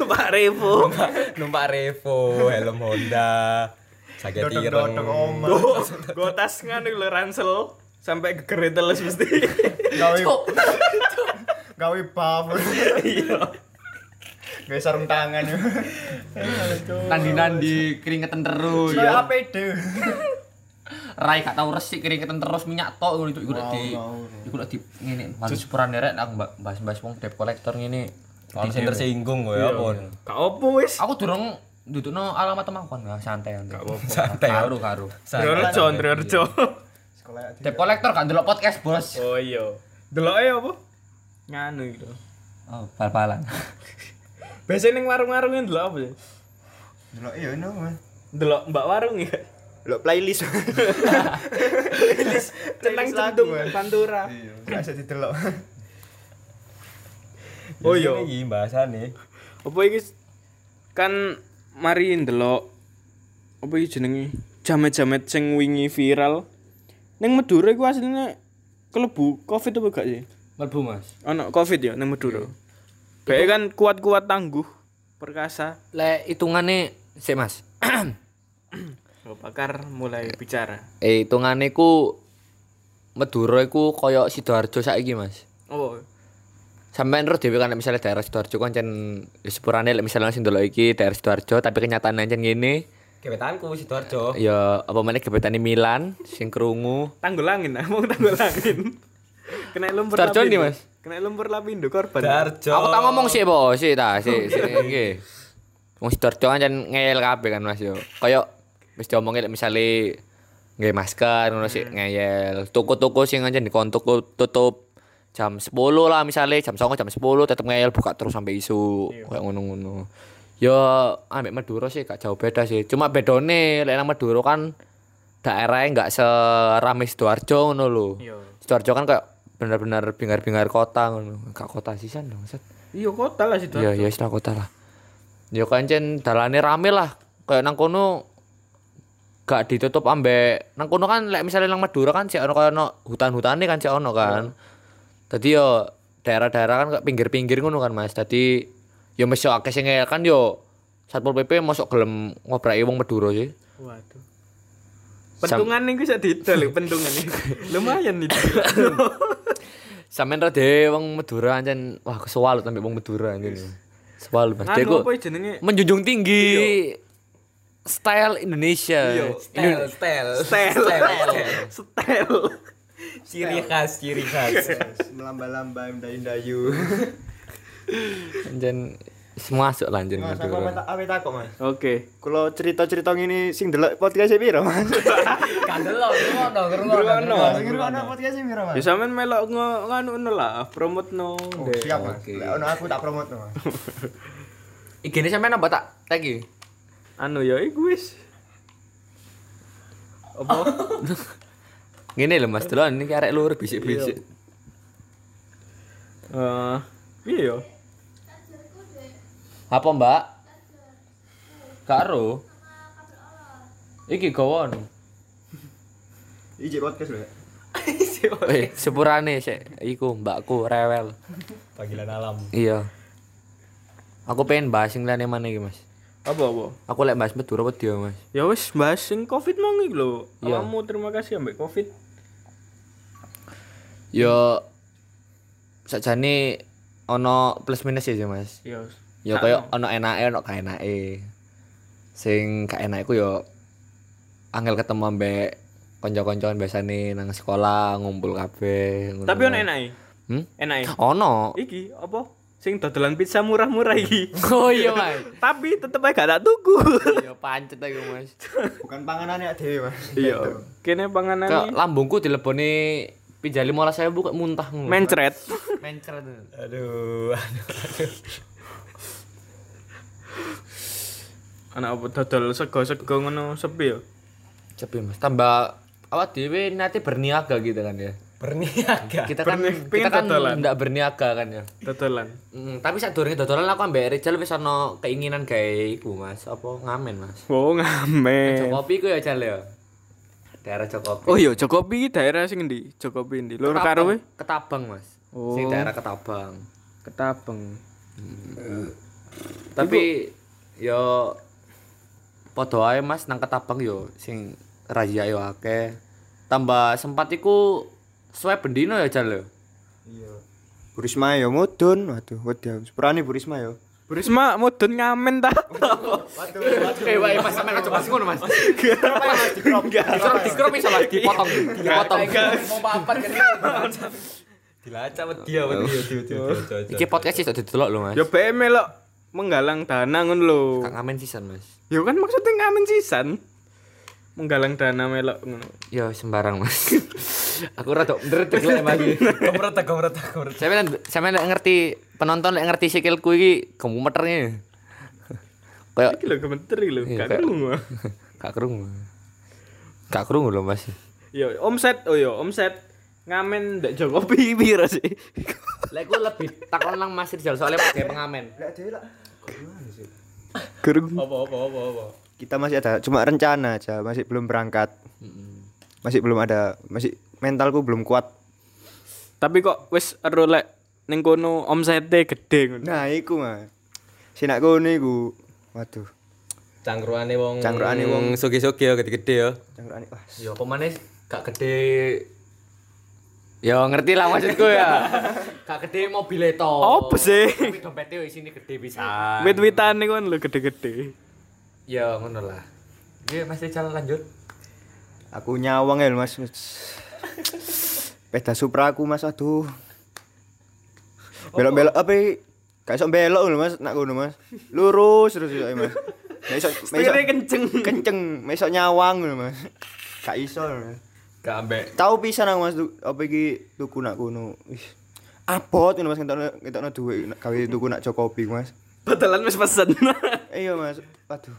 S1: numpak repo.
S7: Numpak Revo, helm Honda. Jaket ireng.
S1: Go, go tas nganu lho ransel sampai gegere telus mesti.
S4: gawe gawe bubble
S1: Gak sarung tangan.
S3: Nandi-nandi keringetan terus
S1: Ya
S3: ya.
S1: pede.
S3: Rai gak tau resik keringetan terus minyak tok ngono iku udah di iku udah di ngene harus sepurane rek aku mbak bahas-bahas wong debt collector ngene.
S7: Di senter singgung gue ya pun.
S1: Gak opo wis.
S3: Aku durung dudukno alamat temanku kan nah, santai santai.
S7: Santai.
S3: Karo karo.
S1: Ndrerejo, ndrerejo.
S3: Debt collector gak ndelok podcast, Bos.
S1: Oh iya. Deloke apa? Nganu gitu.
S3: Oh, pal-palan.
S1: Biasanya ning warung-warung ndelok apa sih?
S4: Delok iya no, Mas.
S1: Ndelok mbak warung ya.
S4: Delok playlist.
S1: Tenang centung pantura.
S4: Iya, gak usah didelok.
S1: Oh iya.
S7: Ini bahasan nih.
S1: Apa iki s- kan mari ndelok apa iki jenenge? Jamet-jamet sing wingi viral. Ning Madura iku asline kelebu Covid apa gak sih?
S3: Mlebu, Mas.
S1: Ono Covid ya ning Madura. Bae kan kuat-kuat tangguh, perkasa.
S3: Lek hitungane sik, Mas.
S1: Lo pakar mulai bicara.
S3: eh hitungane ku Madura iku koyo Sidoarjo saiki, Mas.
S1: Oh,
S3: Sampeyan terus dhewe kan nek misalnya daerah Sidoarjo kan jan ya sepurane lek misalnya sing ndelok iki daerah Sidoarjo tapi kenyataan jan ngene
S7: Kebetanku Sidoarjo.
S3: ya apa meneh gebetane Milan sing krungu.
S1: tanggul angin, mau tanggul angin. Kena lumpur
S3: Sidoarjo
S1: lapindo.
S3: ndi, Mas?
S1: Kena lumpur lapindo korban.
S7: Sidoarjo.
S3: Aku tak ngomong sih, Bos, sih ta, sih sih nggih. Wong Sidoarjo kan jan ngeyel kabeh kan, Mas yo. Koyo wis diomongi lek misale nggih masker ngono sih ngeyel. Toko-toko sing jan dikontok tutup jam 10 lah misalnya jam 09 jam 10 tetep ngeyel buka terus sampai isu kayak ngono-ngono. Ya ambek Madura sih gak jauh beda sih. Cuma bedone lek nang Madura kan daerahnya nggak serame Sidoarjo ngono lho.
S1: Iya.
S3: Sidoarjo kan kayak benar-benar bingar-bingar kota ngono. Gak kota sisan dong, Set.
S1: Iya kota lah situ.
S3: Iya, iya istilah kota lah. Ya kancen dalane rame lah. Kayak nang kono gak ditutup ambek nang kono kan lek misalnya nang Madura kan sik ono kaya ono hutan-hutane kan sik ono kan. Dadi yo daerah-daerah kan kayak pinggir-pinggir ngono kan Mas. Dadi yo mesti akeh sing ngeyel kan yo Satpol PP mosok gelem ngobraki wong Madura sih.
S1: Waduh. Pentungan nih bisa didol ya, pentungan nih. Lumayan nih.
S3: Sampeyan ra dhewe wong Madura ancen wah kesuwalut ambek wong Madura ancen. Sewalut Mas.
S1: Anu
S3: Deko
S1: apa jenenge?
S3: menjunjung tinggi style Indonesia.
S7: Stel, stel,
S1: Stel. Setel.
S7: Ciri khas, ciri khas.
S4: Melamba-lamba ndayu-ndayu.
S3: Anjen masuk lah anjen
S4: Mas, aku apa apa takok, Mas?
S1: Oke.
S4: Kalau cerita-cerita ngene sing delok podcast e piro, Mas?
S3: Kandelok ngono
S4: Ono. Sing ngrungokno podcast e piro, Mas?
S1: Ya sampean melok ngo- nganu no lah, promote no.
S4: Oh, siap, Mas. Lek ono aku tak promote, Mas.
S3: Igene sampean nambah tak tag iki.
S1: Anu ya iku wis. Apa?
S3: Ngene lho Mas Delon iki arek lur bisik-bisik.
S1: Eh, piye yo?
S3: Apa, Mbak? Karo. Iki gawon.
S4: Iki podcast lho.
S3: Eh, sepurane sik iku mbakku rewel.
S7: Panggilan alam.
S3: Iya. Aku pengen bahas sing liyane mana iki, Mas.
S1: Apa apa?
S3: Aku lek bahas Madura wedi, ya, Mas.
S1: Ya wis bahas sing Covid mau iki lho.
S3: Iya.
S1: Awakmu terima kasih ambek Covid.
S3: Yo sakjane ono plus minus ya, Mas.
S1: Ya.
S3: Ya kaya ono enake ono gak enake. Sing gak enake ku yo angel ketemu ambek kanca-kancan biasane nang sekolah ngumpul kabeh.
S1: Tapi ono e, enake.
S3: Hmm?
S1: Enake.
S3: Ono.
S1: Iki apa? Sing dodolan pizza murah-murah iki.
S3: Oh iya, Mas.
S1: Tapi tetep ae gak tak tuku.
S3: Yo pancet aku, Mas.
S4: Bukan panganane ak dhewe, Mas.
S1: Iya. Kene
S3: Ke
S1: panganan
S3: lambungku dileboni pinjali malah saya buka muntah ngono.
S1: mencret.
S3: Mencret.
S7: Aduh, aduh.
S1: Anak apa dodol sego-sego ngono sepi ya.
S3: Cepi, Mas. Tambah awak dhewe nanti berniaga gitu kan ya.
S7: Berniaga.
S3: Kita kan
S1: Berni-
S3: kita
S1: pengen
S3: kan
S1: dodolan.
S3: ndak berniaga kan ya.
S1: Dodolan.
S3: Hmm, tapi saat durungnya dodolan aku ambek Rizal wis ono keinginan kayak iku mas, apa ngamen mas?
S1: Oh ngamen.
S3: Jokopi ku ya Cal ya. Daerah Jokopi.
S1: Oh iya Jokopi iki daerah sing ndi? Jokopi ndi? Lur
S3: Ketabang-
S1: karo we?
S3: Ketabang mas.
S1: Oh.
S3: Sing daerah Ketabang.
S1: Ketabang.
S3: Tapi yo padha ae mas nang Ketabang yo sing razia yo akeh. Tambah sempat iku swab bendino ya Cal ya.
S4: Iya. Burisma ya mudun, waduh, wedi aku. Sepurane Burisma ya.
S1: Burisma mudun ngamen ta.
S3: Eh, wae Mas sampean aja Mas ngono Mas. Dikrop, dikrop bisa Mas, dipotong, dipotong.
S7: Dilacak wedi ya wedi ya, wedi, wedi, wedi, wedi.
S3: Iki podcast sih didelok lho Mas.
S1: Yo BM lo Ya, menggalang dana ngono lho.
S3: Kak ngamen sisan Mas.
S1: Yo kan maksudnya ngamen sisan. Menggalang dana melok ngono.
S3: Yo sembarang Mas. Aku rada ndredeg lek Mas.
S7: Gomrot gomrot gomrot.
S3: Sampeyan sampeyan lek ngerti penonton lek ngerti sikilku iki gemeternya. Kayak
S1: Iki lho gemeter iki lho,
S3: Iya,
S1: gak
S3: kayak-
S1: krungu.
S3: gak kerungu. Gak kerungu lho Mas.
S1: Yo omset, oh yo omset ngamen ndak Jokowi piro sih?
S3: Lek ku lebih takon nang Mas Rizal soalnya pakai pengamen.
S4: Gerung.
S7: Apa apa apa apa.
S4: Kita masih ada cuma rencana aja, masih belum berangkat. Masih belum ada, masih mentalku belum kuat.
S1: Tapi kok wis ero lek ning kono omsete gede ngono.
S4: Nah, iku mah. Sinakku niku. Waduh,
S7: Cangkrukane wong
S4: Cangkrukane wong-
S7: soge-soge ya gede-gede ya.
S4: cangkrukane wah.
S3: Yo pemane gak gede Yo ngerti lah maksudku ya. Gak gede mobil itu.
S1: Apa sih?
S3: Tapi dompetnya isine gede bisa.
S1: Wit-witan niku lho gede-gede.
S3: Ya ngono lah. Iya Mas Rizal lanjut.
S4: Aku nyawang ya, Mas. Peda Supra aku, Mas. Aduh. Belok-belok apa? iki? Gak iso belok lho, Mas. Nak ngono, Mas. Lurus terus iso, Mas. Gak iso, gak iso
S1: Setirnya kenceng.
S4: kenceng, gak iso nyawang lho, Mas. Gak iso. lho, Mas.
S7: Gak ambek
S4: Tahu pisan aku Mas tu- apa iki tuku nak ngono. Ih. Abot ngono Mas ngetokno ngetokno duit nak gawe tuku nak Jokopi, Mas.
S1: Batalan wis pesen.
S4: Iya Mas. Waduh.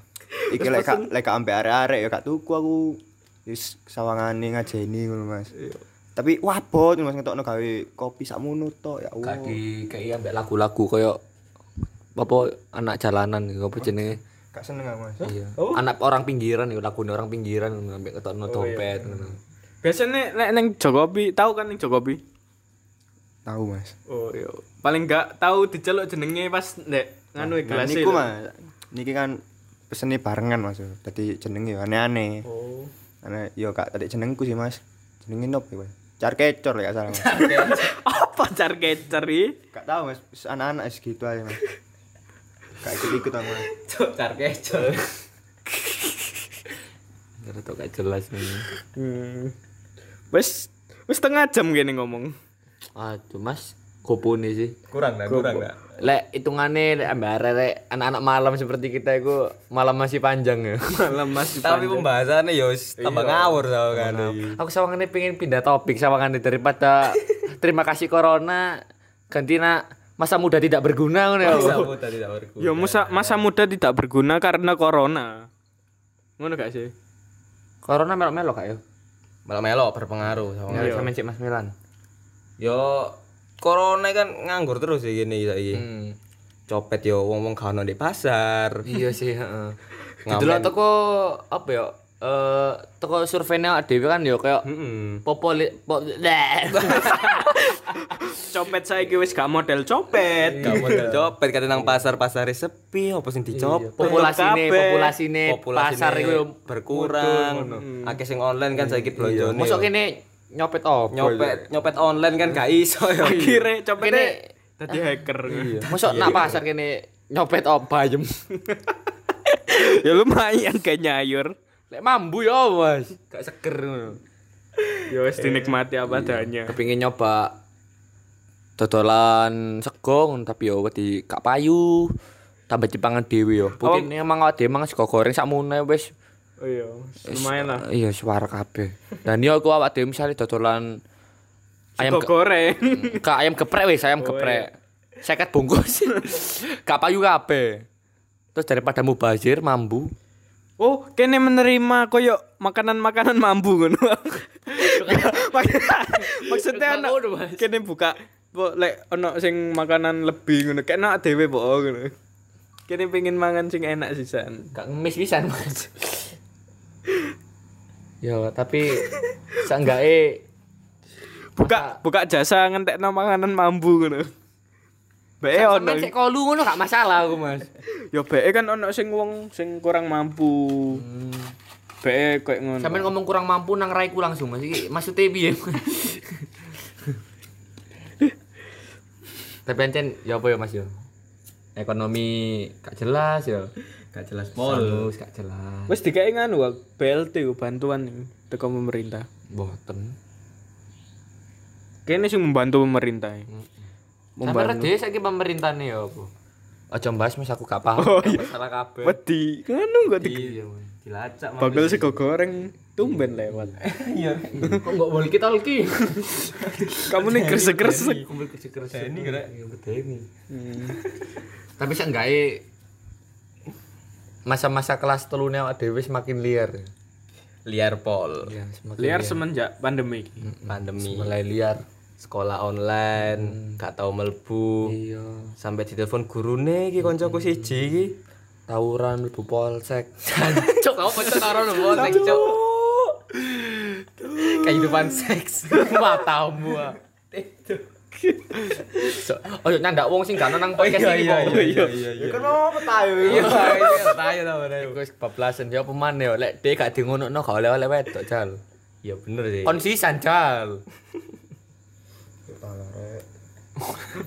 S4: Iki lek gak- lek gak ambek arek-arek ya gak tuku aku. Wis sawangane ngajeni ngono Mas. Tapi wabot ngono, Mas ngetokno gawe kopi sakmono tok ya
S3: Gak
S4: Allah.
S3: di kayak ambek lagu-lagu koyo apa anak jalanan gitu, apa jenenge?
S4: Gak seneng aku Mas.
S3: Iya. Anak orang pinggiran ya lagune orang pinggiran ngono, ambek ketokno dompet ngono.
S1: Biasanya nek ning Jokowi, tahu kan ning Jokowi?
S4: Tahu Mas.
S1: Oh iya. Paling gak tahu diceluk jenenge pas ndek nganu
S4: Nah,
S1: gelas.
S4: niku Mas. Niki kan pesene barengan Mas. Dadi jeneng ya aneh-aneh.
S1: Oh.
S4: Ana yo gak tadi jenengku sih Mas. Jenenge nopo ya, Mas? Car kecor lek gak salah Mas.
S1: Apa car kecer iki?
S4: Gak tahu Mas, Wis anak-anak segitu aja Mas. Gak ikut-ikut aku Mas.
S7: cok car kecel.
S3: Terus Ya, gak jelas ini.
S1: Hmm. Wis wis setengah jam gini ngomong.
S3: Aduh Mas, gopone sih.
S7: Kurang
S3: nah,
S7: lah, kurang lah.
S3: Lek hitungane lek ambek arek anak-anak malam seperti kita itu malam masih panjang ya.
S1: Malam masih
S7: Tapi pembahasannya ya wis tambah
S3: Iya.
S7: ngawur tau kan.
S3: Aku sawangane pengen pindah topik sawangane daripada terima kasih corona ganti nak masa muda tidak berguna ngono ya.
S7: Bisa putar tidak berku.
S1: Ya masa, masa muda tidak berguna karena corona. Ngono gak sih?
S3: Corona melok-melok ya? kak yo.
S7: Malah melok berpengaruh sama.
S3: Ya sama Cik Mas Milan.
S7: Iya. Yo corona kan nganggur terus ya gini saiki. Copet yo wong-wong gak ono di pasar.
S3: Hmm. Iya sih, heeh.
S7: Ngamen.
S3: Didelok toko apa ya? Eh toko surveinya dhewe kan yo kayak
S7: Heeh.
S3: popo li- po-
S1: Copet saya wis gak model copet.
S7: Gak model copet kadang
S3: Iya.
S7: nang pasar-pasar sepi apa sing dicopet.
S3: populasine
S1: Kabeh.
S3: populasine
S7: Populasi
S3: Iya. Eh, pasar
S7: ini
S3: iku
S7: berkurang. Akeh sing online kan saiki blonjone.
S3: Iya. Mosok
S7: yo.
S3: kene nyopet opo?
S7: nyopet nyopet online kan gak iso ya.
S1: Akhirnya copetnya
S3: Kene-
S1: tadi hacker.
S3: Mosok nak pasar kene nyopet opo ayem.
S1: ya lumayan kayak nyayur.
S3: Lek mambu ya Mas. Gak seger ngono.
S1: Ya wis dinikmati apa adanya.
S3: Kepingin nyoba dodolan segong tapi yo wedi kak payu. Tambah jepangan dhewe yo. Mungkin emang awake dhewe mangan sego goreng sakmene wis
S1: Oh iya, lumayan lah.
S3: Iya suara kabeh. Dan yo aku awak dhewe misale dodolan
S1: eh,
S3: ayam
S1: Kok goreng.
S3: ke, ka- ayam geprek wis ayam geprek. Seket bungkus. Kak payu kabeh. Terus daripada mubazir mambu.
S1: Oh, kene menerima koyo makanan-makanan mambu ngono. Gak, mak- Maksudnya ana kene buka po, lek ono sing makanan lebih ngono, kene ana dhewe po ngono. Kene pengen mangan sing enak sisan.
S3: Gak ngemis pisan, Mas. Yo, tapi seenggaknya
S1: Buka buka jasa ngentekno makanan mambu ngono. Beke ono.
S3: Sampeyan sik Eh, kolu ngono gak masalah aku, Mas.
S1: Ya beke kan ono sing wong sing kurang mampu. Beke koyo ngono.
S9: Kan
S3: Sampeyan ngomong kurang mampu nang raiku langsung, Mas. Iki maksudnya piye? Tapi ancen ya apa ya, Mas yo?
S9: ekonomi gak jelas ya gak jelas pol gak jelas
S1: Wis dikai nganu Wak, BLT ku, bantuan iki, teko pemerintah.
S9: boten
S1: Kene sing membantu pemerintah. iki.
S9: sampe rede saiki pemerintahane ya apa
S3: Aja bahas mas aku gak paham.
S1: Oh iya.
S3: Masalah kabeh.
S1: Wedi, nganu kok di-
S7: dilacak Mas.
S1: bakal sego goreng tumben lewat.
S9: kok gak boleh kita lagi
S1: Kamu nih gresek-gresek.
S7: Deni kira
S3: Ya,
S7: Deni
S9: Hmm.
S3: Tapi seenggaknya masa-masa kelas telunya awak dhewe semakin liar.
S7: liar pol
S3: Ya, semakin
S1: Liar semenjak pandemi. iki.
S7: pandemi
S3: mulai liar.
S7: sekolah online gak tau melbu
S3: Iya.
S7: sampai ditelepon gurune iki koncoku siji iki
S3: Tawuran mlebu polsek.
S9: cok apa cok karo lu bos cok kehidupan seks matamu ah.
S3: So- Oh, iya, nyandak wong sing gak nang podcast iki. Iya, iya, iya.
S7: iya kan mau petayu iya petayu tau petayu
S3: Wis bablasan ya peman ya, lek dhek gak di ngono gak oleh-oleh wedok jal.
S7: iya bener sih
S3: Konsisan jal.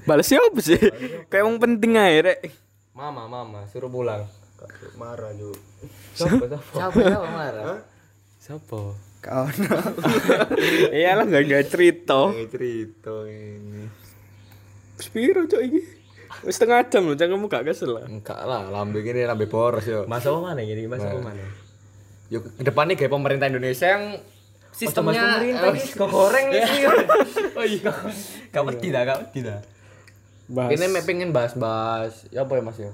S1: Balas siapa sih? Kayak wong penting ae rek.
S7: mama mama suruh pulang
S4: marah yuk
S3: Siapa ya wong marah?
S7: siapa
S4: kawan
S1: Iyalah gak gak cerita.
S4: cerita ini
S1: Spiro cok iki. Wis setengah jam loh, jangan kamu gak kesel lah.
S3: Enggak lah, lambe kene lambe boros yo.
S7: mas apa mana gini mas apa mana
S3: Yo depannya kayak pemerintah Indonesia yang sistemnya eh,
S7: pemerintah iki kok goreng iki oh iya gak peti dah gak peti dah
S1: Bahas.
S3: Ini mek pengen bahas-bahas ya apa ya Mas ya?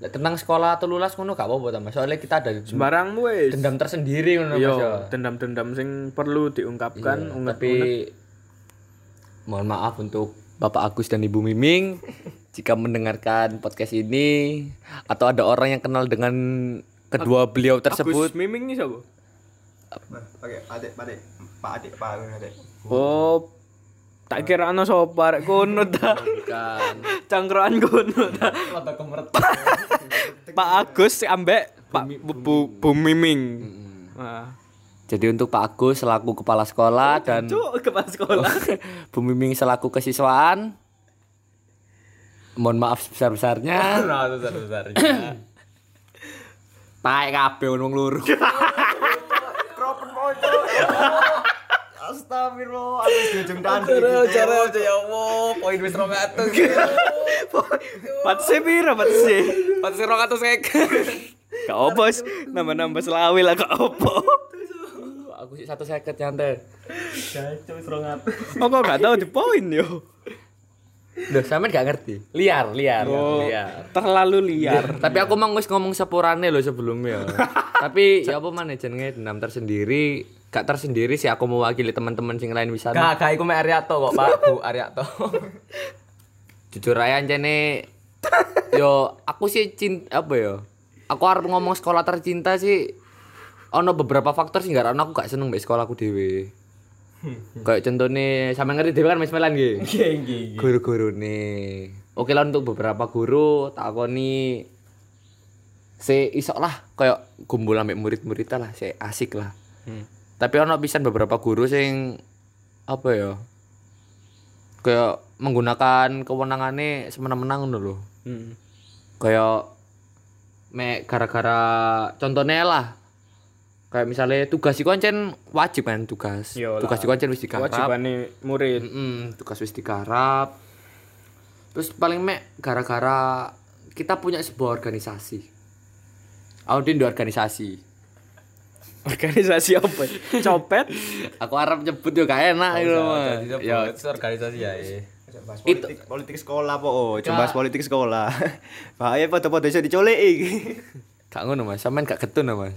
S3: Ya, tentang sekolah atau lulas ngono gak apa-apa ta Mas. Soalnya kita ada
S1: Sembarang wes.
S3: dendam tersendiri ngono Mas ya.
S1: Yo, dendam-dendam sing perlu diungkapkan, unget
S3: Tapi mohon maaf untuk Bapak Agus dan Ibu Miming jika mendengarkan podcast ini atau ada orang yang kenal dengan kedua beliau
S1: Gus
S3: tersebut.
S1: Miming nih siapa?
S4: pakai adik adik pak adik pak adik
S1: Oh, tak kira ana sapa rek kono ta. Cangkroan kono ta. Pak Agus ambek Pak Bu, Bu, Bu Miming. Wah.
S3: Jadi untuk Pak Agus selaku kepala sekolah dan
S1: Cuk, kepala sekolah.
S3: Oh. Bu Miming selaku kesiswaan mohon maaf sebesar-besarnya.
S7: nah besar besar
S3: Taek kabeh wong loro.
S4: astagfirullah aku di ujung tanduk
S7: cara ya Allah poin wis 200
S1: Patse pira patse?
S7: patse 200
S1: Gak apa sih, nambah-nambah selawi lah gak apa.
S3: Aku sih satu seket nyantai.
S1: Oh, kok gak tau di poin yo.
S3: Loh, sampean gak ngerti. Liar, liar,
S1: Oh.
S3: liar.
S1: Iya. Terlalu liar.
S3: Tapi aku mau wis ngomong sepurane loh sebelumnya. Tapi ya apa mana jenenge dendam tersendiri, gak tersendiri sih aku mewakili teman-teman sing lain bisa.
S7: gak gak iku mek Ariato kok Pak Bu Ariato
S3: Jujur aja jane yo aku sih cinta apa yo. Aku harus ngomong sekolah tercinta sih ono beberapa faktor sih gak ono aku gak seneng mbek sekolahku dhewe. Kayak contohnya sama ngerti dhewe kan mesmelan nggih.
S1: Iya,
S3: guru-guru nih oke lah untuk beberapa guru tak aku nih se isok lah kayak gumbul ambek murid-murid lah se asik lah
S1: Hmm.
S3: tapi ono pisan beberapa guru sing apa ya kayak menggunakan kewenangannya semena-mena ngono loh
S1: Hmm.
S3: kayak me gara-gara contohnya lah kayak misalnya tugas iku ancen wajib kan
S1: Yo
S3: tugas
S1: Iya lah.
S3: tugas iku ancen wis digarap
S1: Kewajibane murid.
S3: Mm-mm, tugas wis digarap. Terus paling mek gara-gara kita punya sebuah organisasi. Audin di organisasi.
S1: Organisasi apa? Copet.
S3: Aku harap nyebut yo gak enak gitu. Mas.
S7: ya organisasi ya eh.
S4: bahas politik politik sekolah po oh coba bahas politik sekolah bahaya foto foto iso dicolek iki
S3: Gak ngono Mas, sampean gak ketun Mas.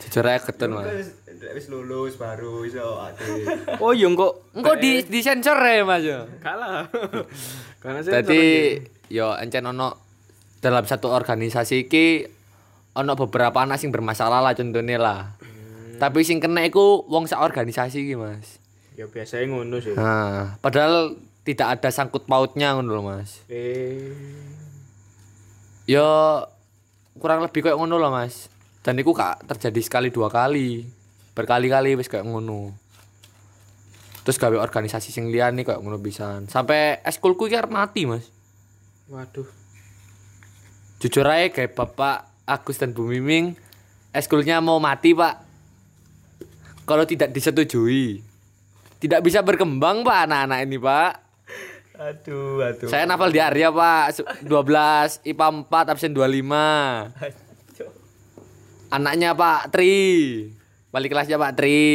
S3: Jujur aja ketun Mas.
S4: Wis- wis lulus baru iso adik
S1: Oh, yo kok
S3: Engko di di sensor ya Mas yo.
S1: kalah. Karena saya
S3: Jadi yo encen ono dalam satu organisasi iki ono beberapa anak sing bermasalah lah contohnya lah. Tapi sing kena iku wong sak organisasi iki Mas.
S1: ya biasanya ngono sih.
S3: Nah, padahal tidak ada sangkut pautnya ngono loh, Mas.
S1: Eh,
S3: Ya kurang lebih kayak ngono loh, Mas. Dan itu kak terjadi sekali dua kali. Berkali-kali wis kayak ngono. Terus gawe organisasi sing liyan nih kayak ngono pisan. Sampai eskulku iki arep mati, Mas.
S1: Waduh.
S3: Jujur aja kayak Bapak Agus dan Bu Miming eskulnya mau mati Pak. Kalau tidak disetujui, tidak bisa berkembang Pak anak-anak ini Pak.
S7: Aduh, aduh.
S3: Saya nafal di Arya Pak, Se- 12 IPA 4 absen 25. Anaknya Pak Tri. Wali kelasnya Pak Tri.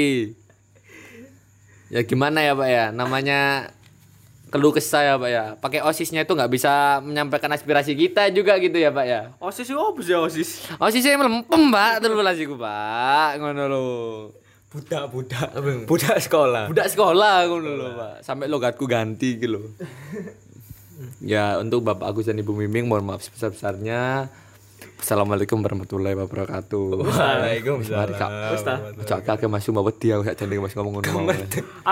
S3: Ya gimana ya Pak ya, namanya keluh kesah ya Pak ya. Pakai OSISnya itu nggak bisa menyampaikan aspirasi kita juga gitu ya Pak ya.
S1: Osis itu apa sih osis?
S3: OSISnya Oh, melempem Pak, terus lasiku Pak, ngono lho.
S7: Budak-budak. Budak sekolah.
S3: Budak sekolah ngono lho Pak, sampai logatku ganti gitu loh. ya untuk Bapak Agus dan Ibu Miming mohon maaf sebesar-besarnya. Assalamualaikum warahmatullahi wabarakatuh.
S7: Waalaikumsalam.
S3: Mari Kak. Ojo akeh Mas cuma wedi aku sak jenenge Mas ngomong ngono. mau.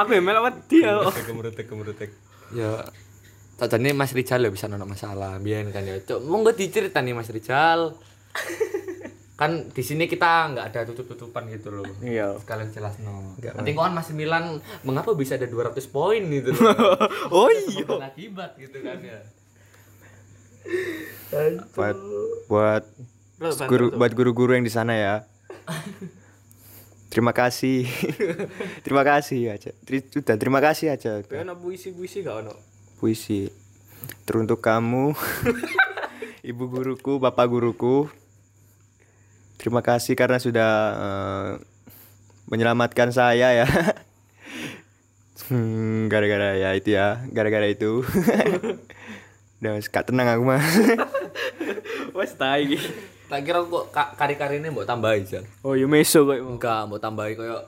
S1: Aku yang melewat dia.
S7: Kemurutek, kemurutek.
S3: Ya Tadane Mas Rijal ya bisa nono masalah biyen kan ya. Cuk, monggo diceritani Mas Rijal. kan di sini kita nggak ada tutup-tutupan gitu loh.
S1: Iya.
S3: Sekalian jelas no. Nanti kok kan Mas Milan mengapa bisa ada 200 poin gitu loh.
S1: Oh iya.
S3: Bukan akibat gitu kan ya.
S4: buat buat guru buat guru-guru yang di sana ya terima kasih terima kasih aja Tri- sudah terima kasih aja
S1: Kayak ono puisi-puisi gak ono.
S4: puisi teruntuk kamu ibu guruku bapak guruku terima kasih karena sudah eh, menyelamatkan saya ya Hmm, gara-gara ya itu ya gara-gara itu udah Mas, gak tenang aku mas
S1: Wes ta iki.
S3: Tak kira kok ka- kari-karine mbok tambahi Jal.
S1: Oh iya meso kok.
S3: Enggak, mbok tambahi koyo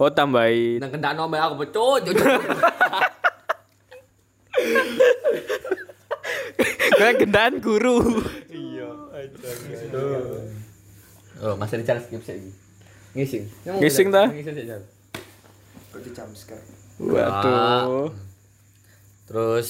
S1: Oh tambahi
S3: nang kendak nomor aku pecut.
S1: Kayak gendaan guru.
S3: Oh, Mas Rijal skip sih. Ngising.
S1: Ngising ta?
S3: Ngising sih, Jal.
S1: Waduh.
S3: Terus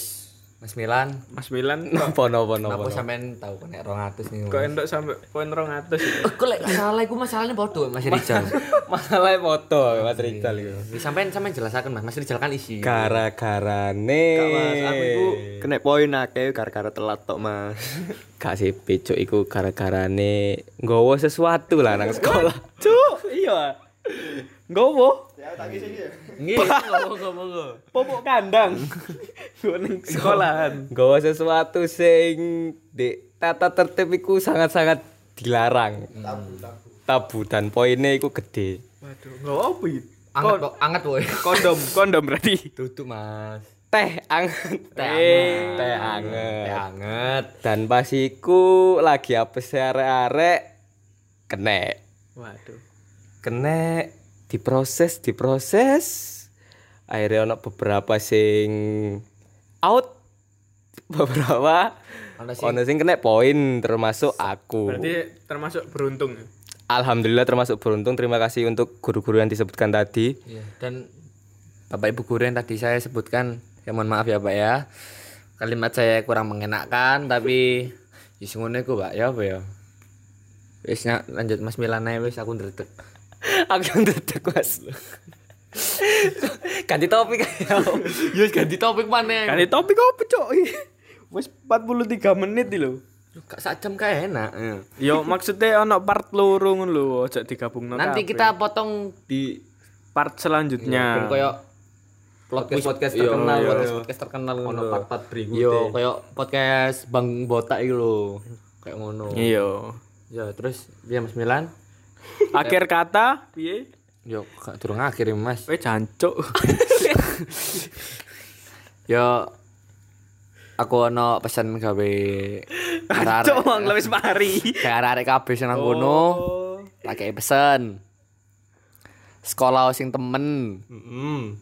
S3: Mas Milan,
S1: Mas Milan
S7: Nopo, nopo, nopo.
S3: kenapa sampean tahu kena 200 nih? Eh,
S1: kok endok sampai poin 200.
S3: Kok lek salah iku masalahnya bodoh Mas Rijal.
S7: Masalahnya foto, Mas Rizal iya. itu.
S3: Ya, Sampean sampean jelasaken Mas. Mas Rijal kan isi.
S7: Gara-gara nih.
S4: Kak, mas aku itu kena poin akeh gara-gara telat tok mas
S7: Kak si Pecuk iku gara-gara nih nggawa sesuatu lah nang sekolah.
S1: Cuk, iya. Nggowo
S3: Nggih, ngomong-ngomong.
S1: popok kandang. Gue neng sekolahan.
S7: Nggawa sesuatu sing di tata tertib iku sangat-sangat dilarang. Tabu, tabu. dan poinnya iku gede.
S1: Waduh, nggowo apa iki?
S3: Anget kok, anget woi.
S1: Kondom, kondom berarti.
S3: Duduk Mas.
S7: Teh anget.
S1: Eh.
S3: Teh anget.
S7: Teh anget.
S3: Teh anget.
S7: Dan pas iku lagi apes arek-arek kena.
S1: Waduh.
S7: kena diproses diproses akhirnya ono beberapa sing out beberapa
S3: Ono sing-
S7: ono sing, kena poin termasuk aku
S1: Berarti termasuk beruntung. ya?
S7: alhamdulillah termasuk beruntung terima kasih untuk guru-guru yang disebutkan tadi
S3: Iya, dan Bapak Ibu guru yang tadi saya sebutkan, ya mohon maaf ya Pak ya. Kalimat saya kurang mengenakan tapi ya sing ngono iku Pak ya apa ya. Wis na- lanjut Mas Milan ae wis aku ndredeg.
S7: aku yang dedek mas ganti topik ayo.
S3: Ya ganti topik maneh.
S1: Kali topik apa cok? Wes 43 menit iki lho.
S3: Gak sak jam kayak enak. ya.
S1: Yo maksudnya ono part loro ngono lho, ojo digabungno
S3: Nanti
S1: kabeh.
S3: kita potong
S1: di part
S3: ben
S1: selanjutnya.
S3: koyo Nah. podcast iya, podcast terkenal, podcast podcast terkenal ngono.
S7: part-part berikutnya.
S3: Yo koyo podcast Bang Botak iku lho. Kayak ngono.
S1: Iya.
S3: Ya terus ya Mas Milan.
S1: Akhir kata piye?
S3: Yo gak durung akhir ya, Mas.
S1: Wes jancuk.
S3: Yo aku ono pesen gawe
S1: Jancuk
S3: arek-arek
S1: mang lewis mari.
S3: gawe arek kabeh sing nang kono. Tak kei pesen. Sekolah sing temen.
S7: Mm,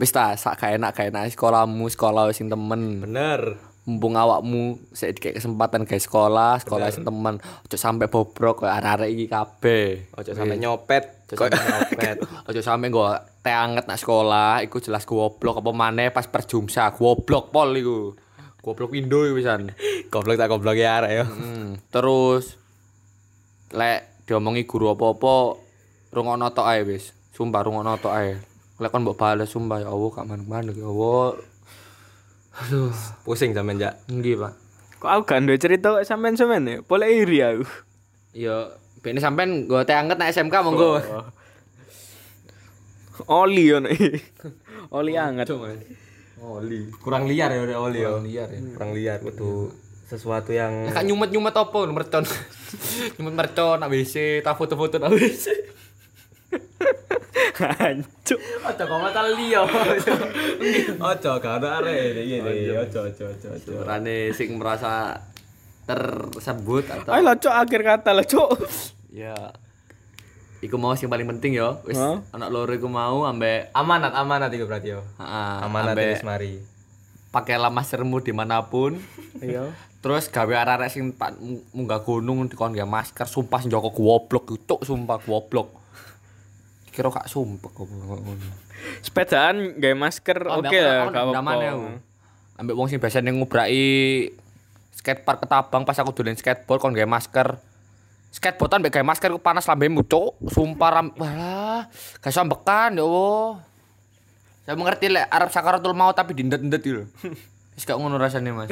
S3: Wis ta sak gak enak gak enak sekolahmu, sekolah sing temen.
S7: bener
S3: Mumpung awakmu sik dikek kesempatan gawe sekolah, sekolah sing temen. Ojo sampe bobrok koyo arek-arek iki kabeh.
S7: ojo sampai nyopet
S3: Ojo sampe nyopet. Ojo sampe nggo teh anget nak sekolah, iku jelas goblok apa maneh pas perjumsa goblok pol iku. Goblok Indo iku pisan.
S7: goblok tak goblok ya arek yo
S3: Hmm, terus lek diomongi guru apa-apa rungokno tok ae wis. Sumpah rungokno tok ae. Lek kon mbok bales sumpah ya Allah gak manut-manut ya Allah.
S7: pusing sampean jak
S3: Nggih, Pak.
S1: Kok aku gak duwe cerita kok sampean-sampean ya? Boleh iri aku.
S3: Yo, ben sampean nggo teh anget nang SMK monggo.
S7: Oh.
S1: Oli yo nek. Oli anget.
S7: Oli. Kurang liar ya udah Oli. Kurang liar ya. Kurang liar kudu sesuatu yang
S3: Kak nyumet-nyumet apa mercon. nyumet mercon nak WC, tak foto-foto nak WC.
S1: Hancuk.
S3: Ojo kok mata liya.
S7: ojo gak ada arek iki iki. Ojo ojo ojo ojo.
S3: Rane sing merasa tersebut atau
S1: Ayo lah cok akhir kata lah cok.
S3: ya iku mau sing paling penting yo wis
S1: Hah?
S3: anak loro iku mau ambek
S7: Amanat amanat itu berarti yo.
S3: Heeh,
S7: Amanat
S3: ambek-
S7: wis mari.
S3: pakailah maskermu dimanapun
S1: Iya.
S3: terus gawe arek-arek sing tak mu- munggah gunung dikon gawe masker sumpah sing Joko goblok cuk sumpah goblok kira kak sumpah goblok
S1: Sepedaan gawe masker
S3: Oh,
S1: oke lah gak apa-apa.
S3: ambek wong sing biasa ning ngubraki skatepark ketabang pas aku dolen skateboard kon gawe masker skateboardan ambek gawe masker ku panas lambemu cuk sumpah ram walah gak iso ambekan ya Allah saya mengerti lek Arab sakaratul maut tapi dindet-ndet gitu wis gak ngono rasanya Mas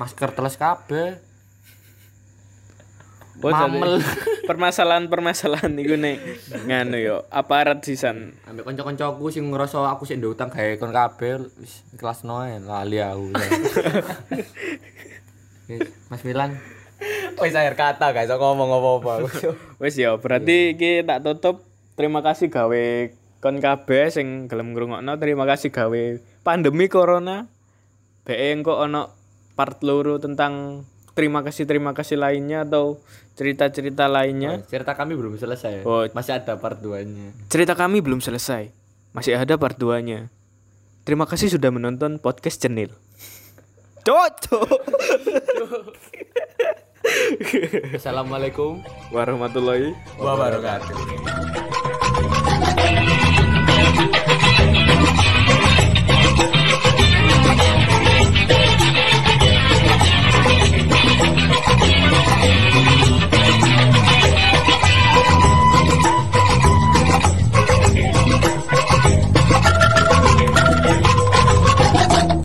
S3: masker teles kabeh
S1: Oh, jadi
S3: Mamel.
S1: Permasalahan-permasalahan iku nek nganu yo aparat sisan.
S3: ambek kanca-kancaku sing ngerasa aku sik ndek utang gawe kon kabeh wis kelas noe lali aku. Oke, Mas Milan,
S7: Wis akhir kata guys, aku ngomong apa-apa.
S1: Wis yo, berarti iki tak tutup. Terima kasih gawe kon kabeh sing gelem ngrungokno. Terima kasih gawe pandemi corona. Bae engko ono part loro tentang terima kasih terima kasih lainnya atau cerita-cerita lainnya.
S3: cerita kami belum selesai.
S1: Oh.
S3: Masih ada part 2-nya.
S1: Cerita kami belum selesai. Masih ada part 2-nya. Terima kasih sudah menonton podcast Cenil. Cocok.
S3: Assalamualaikum.
S1: Warahmatullahi
S7: Gua baru kata.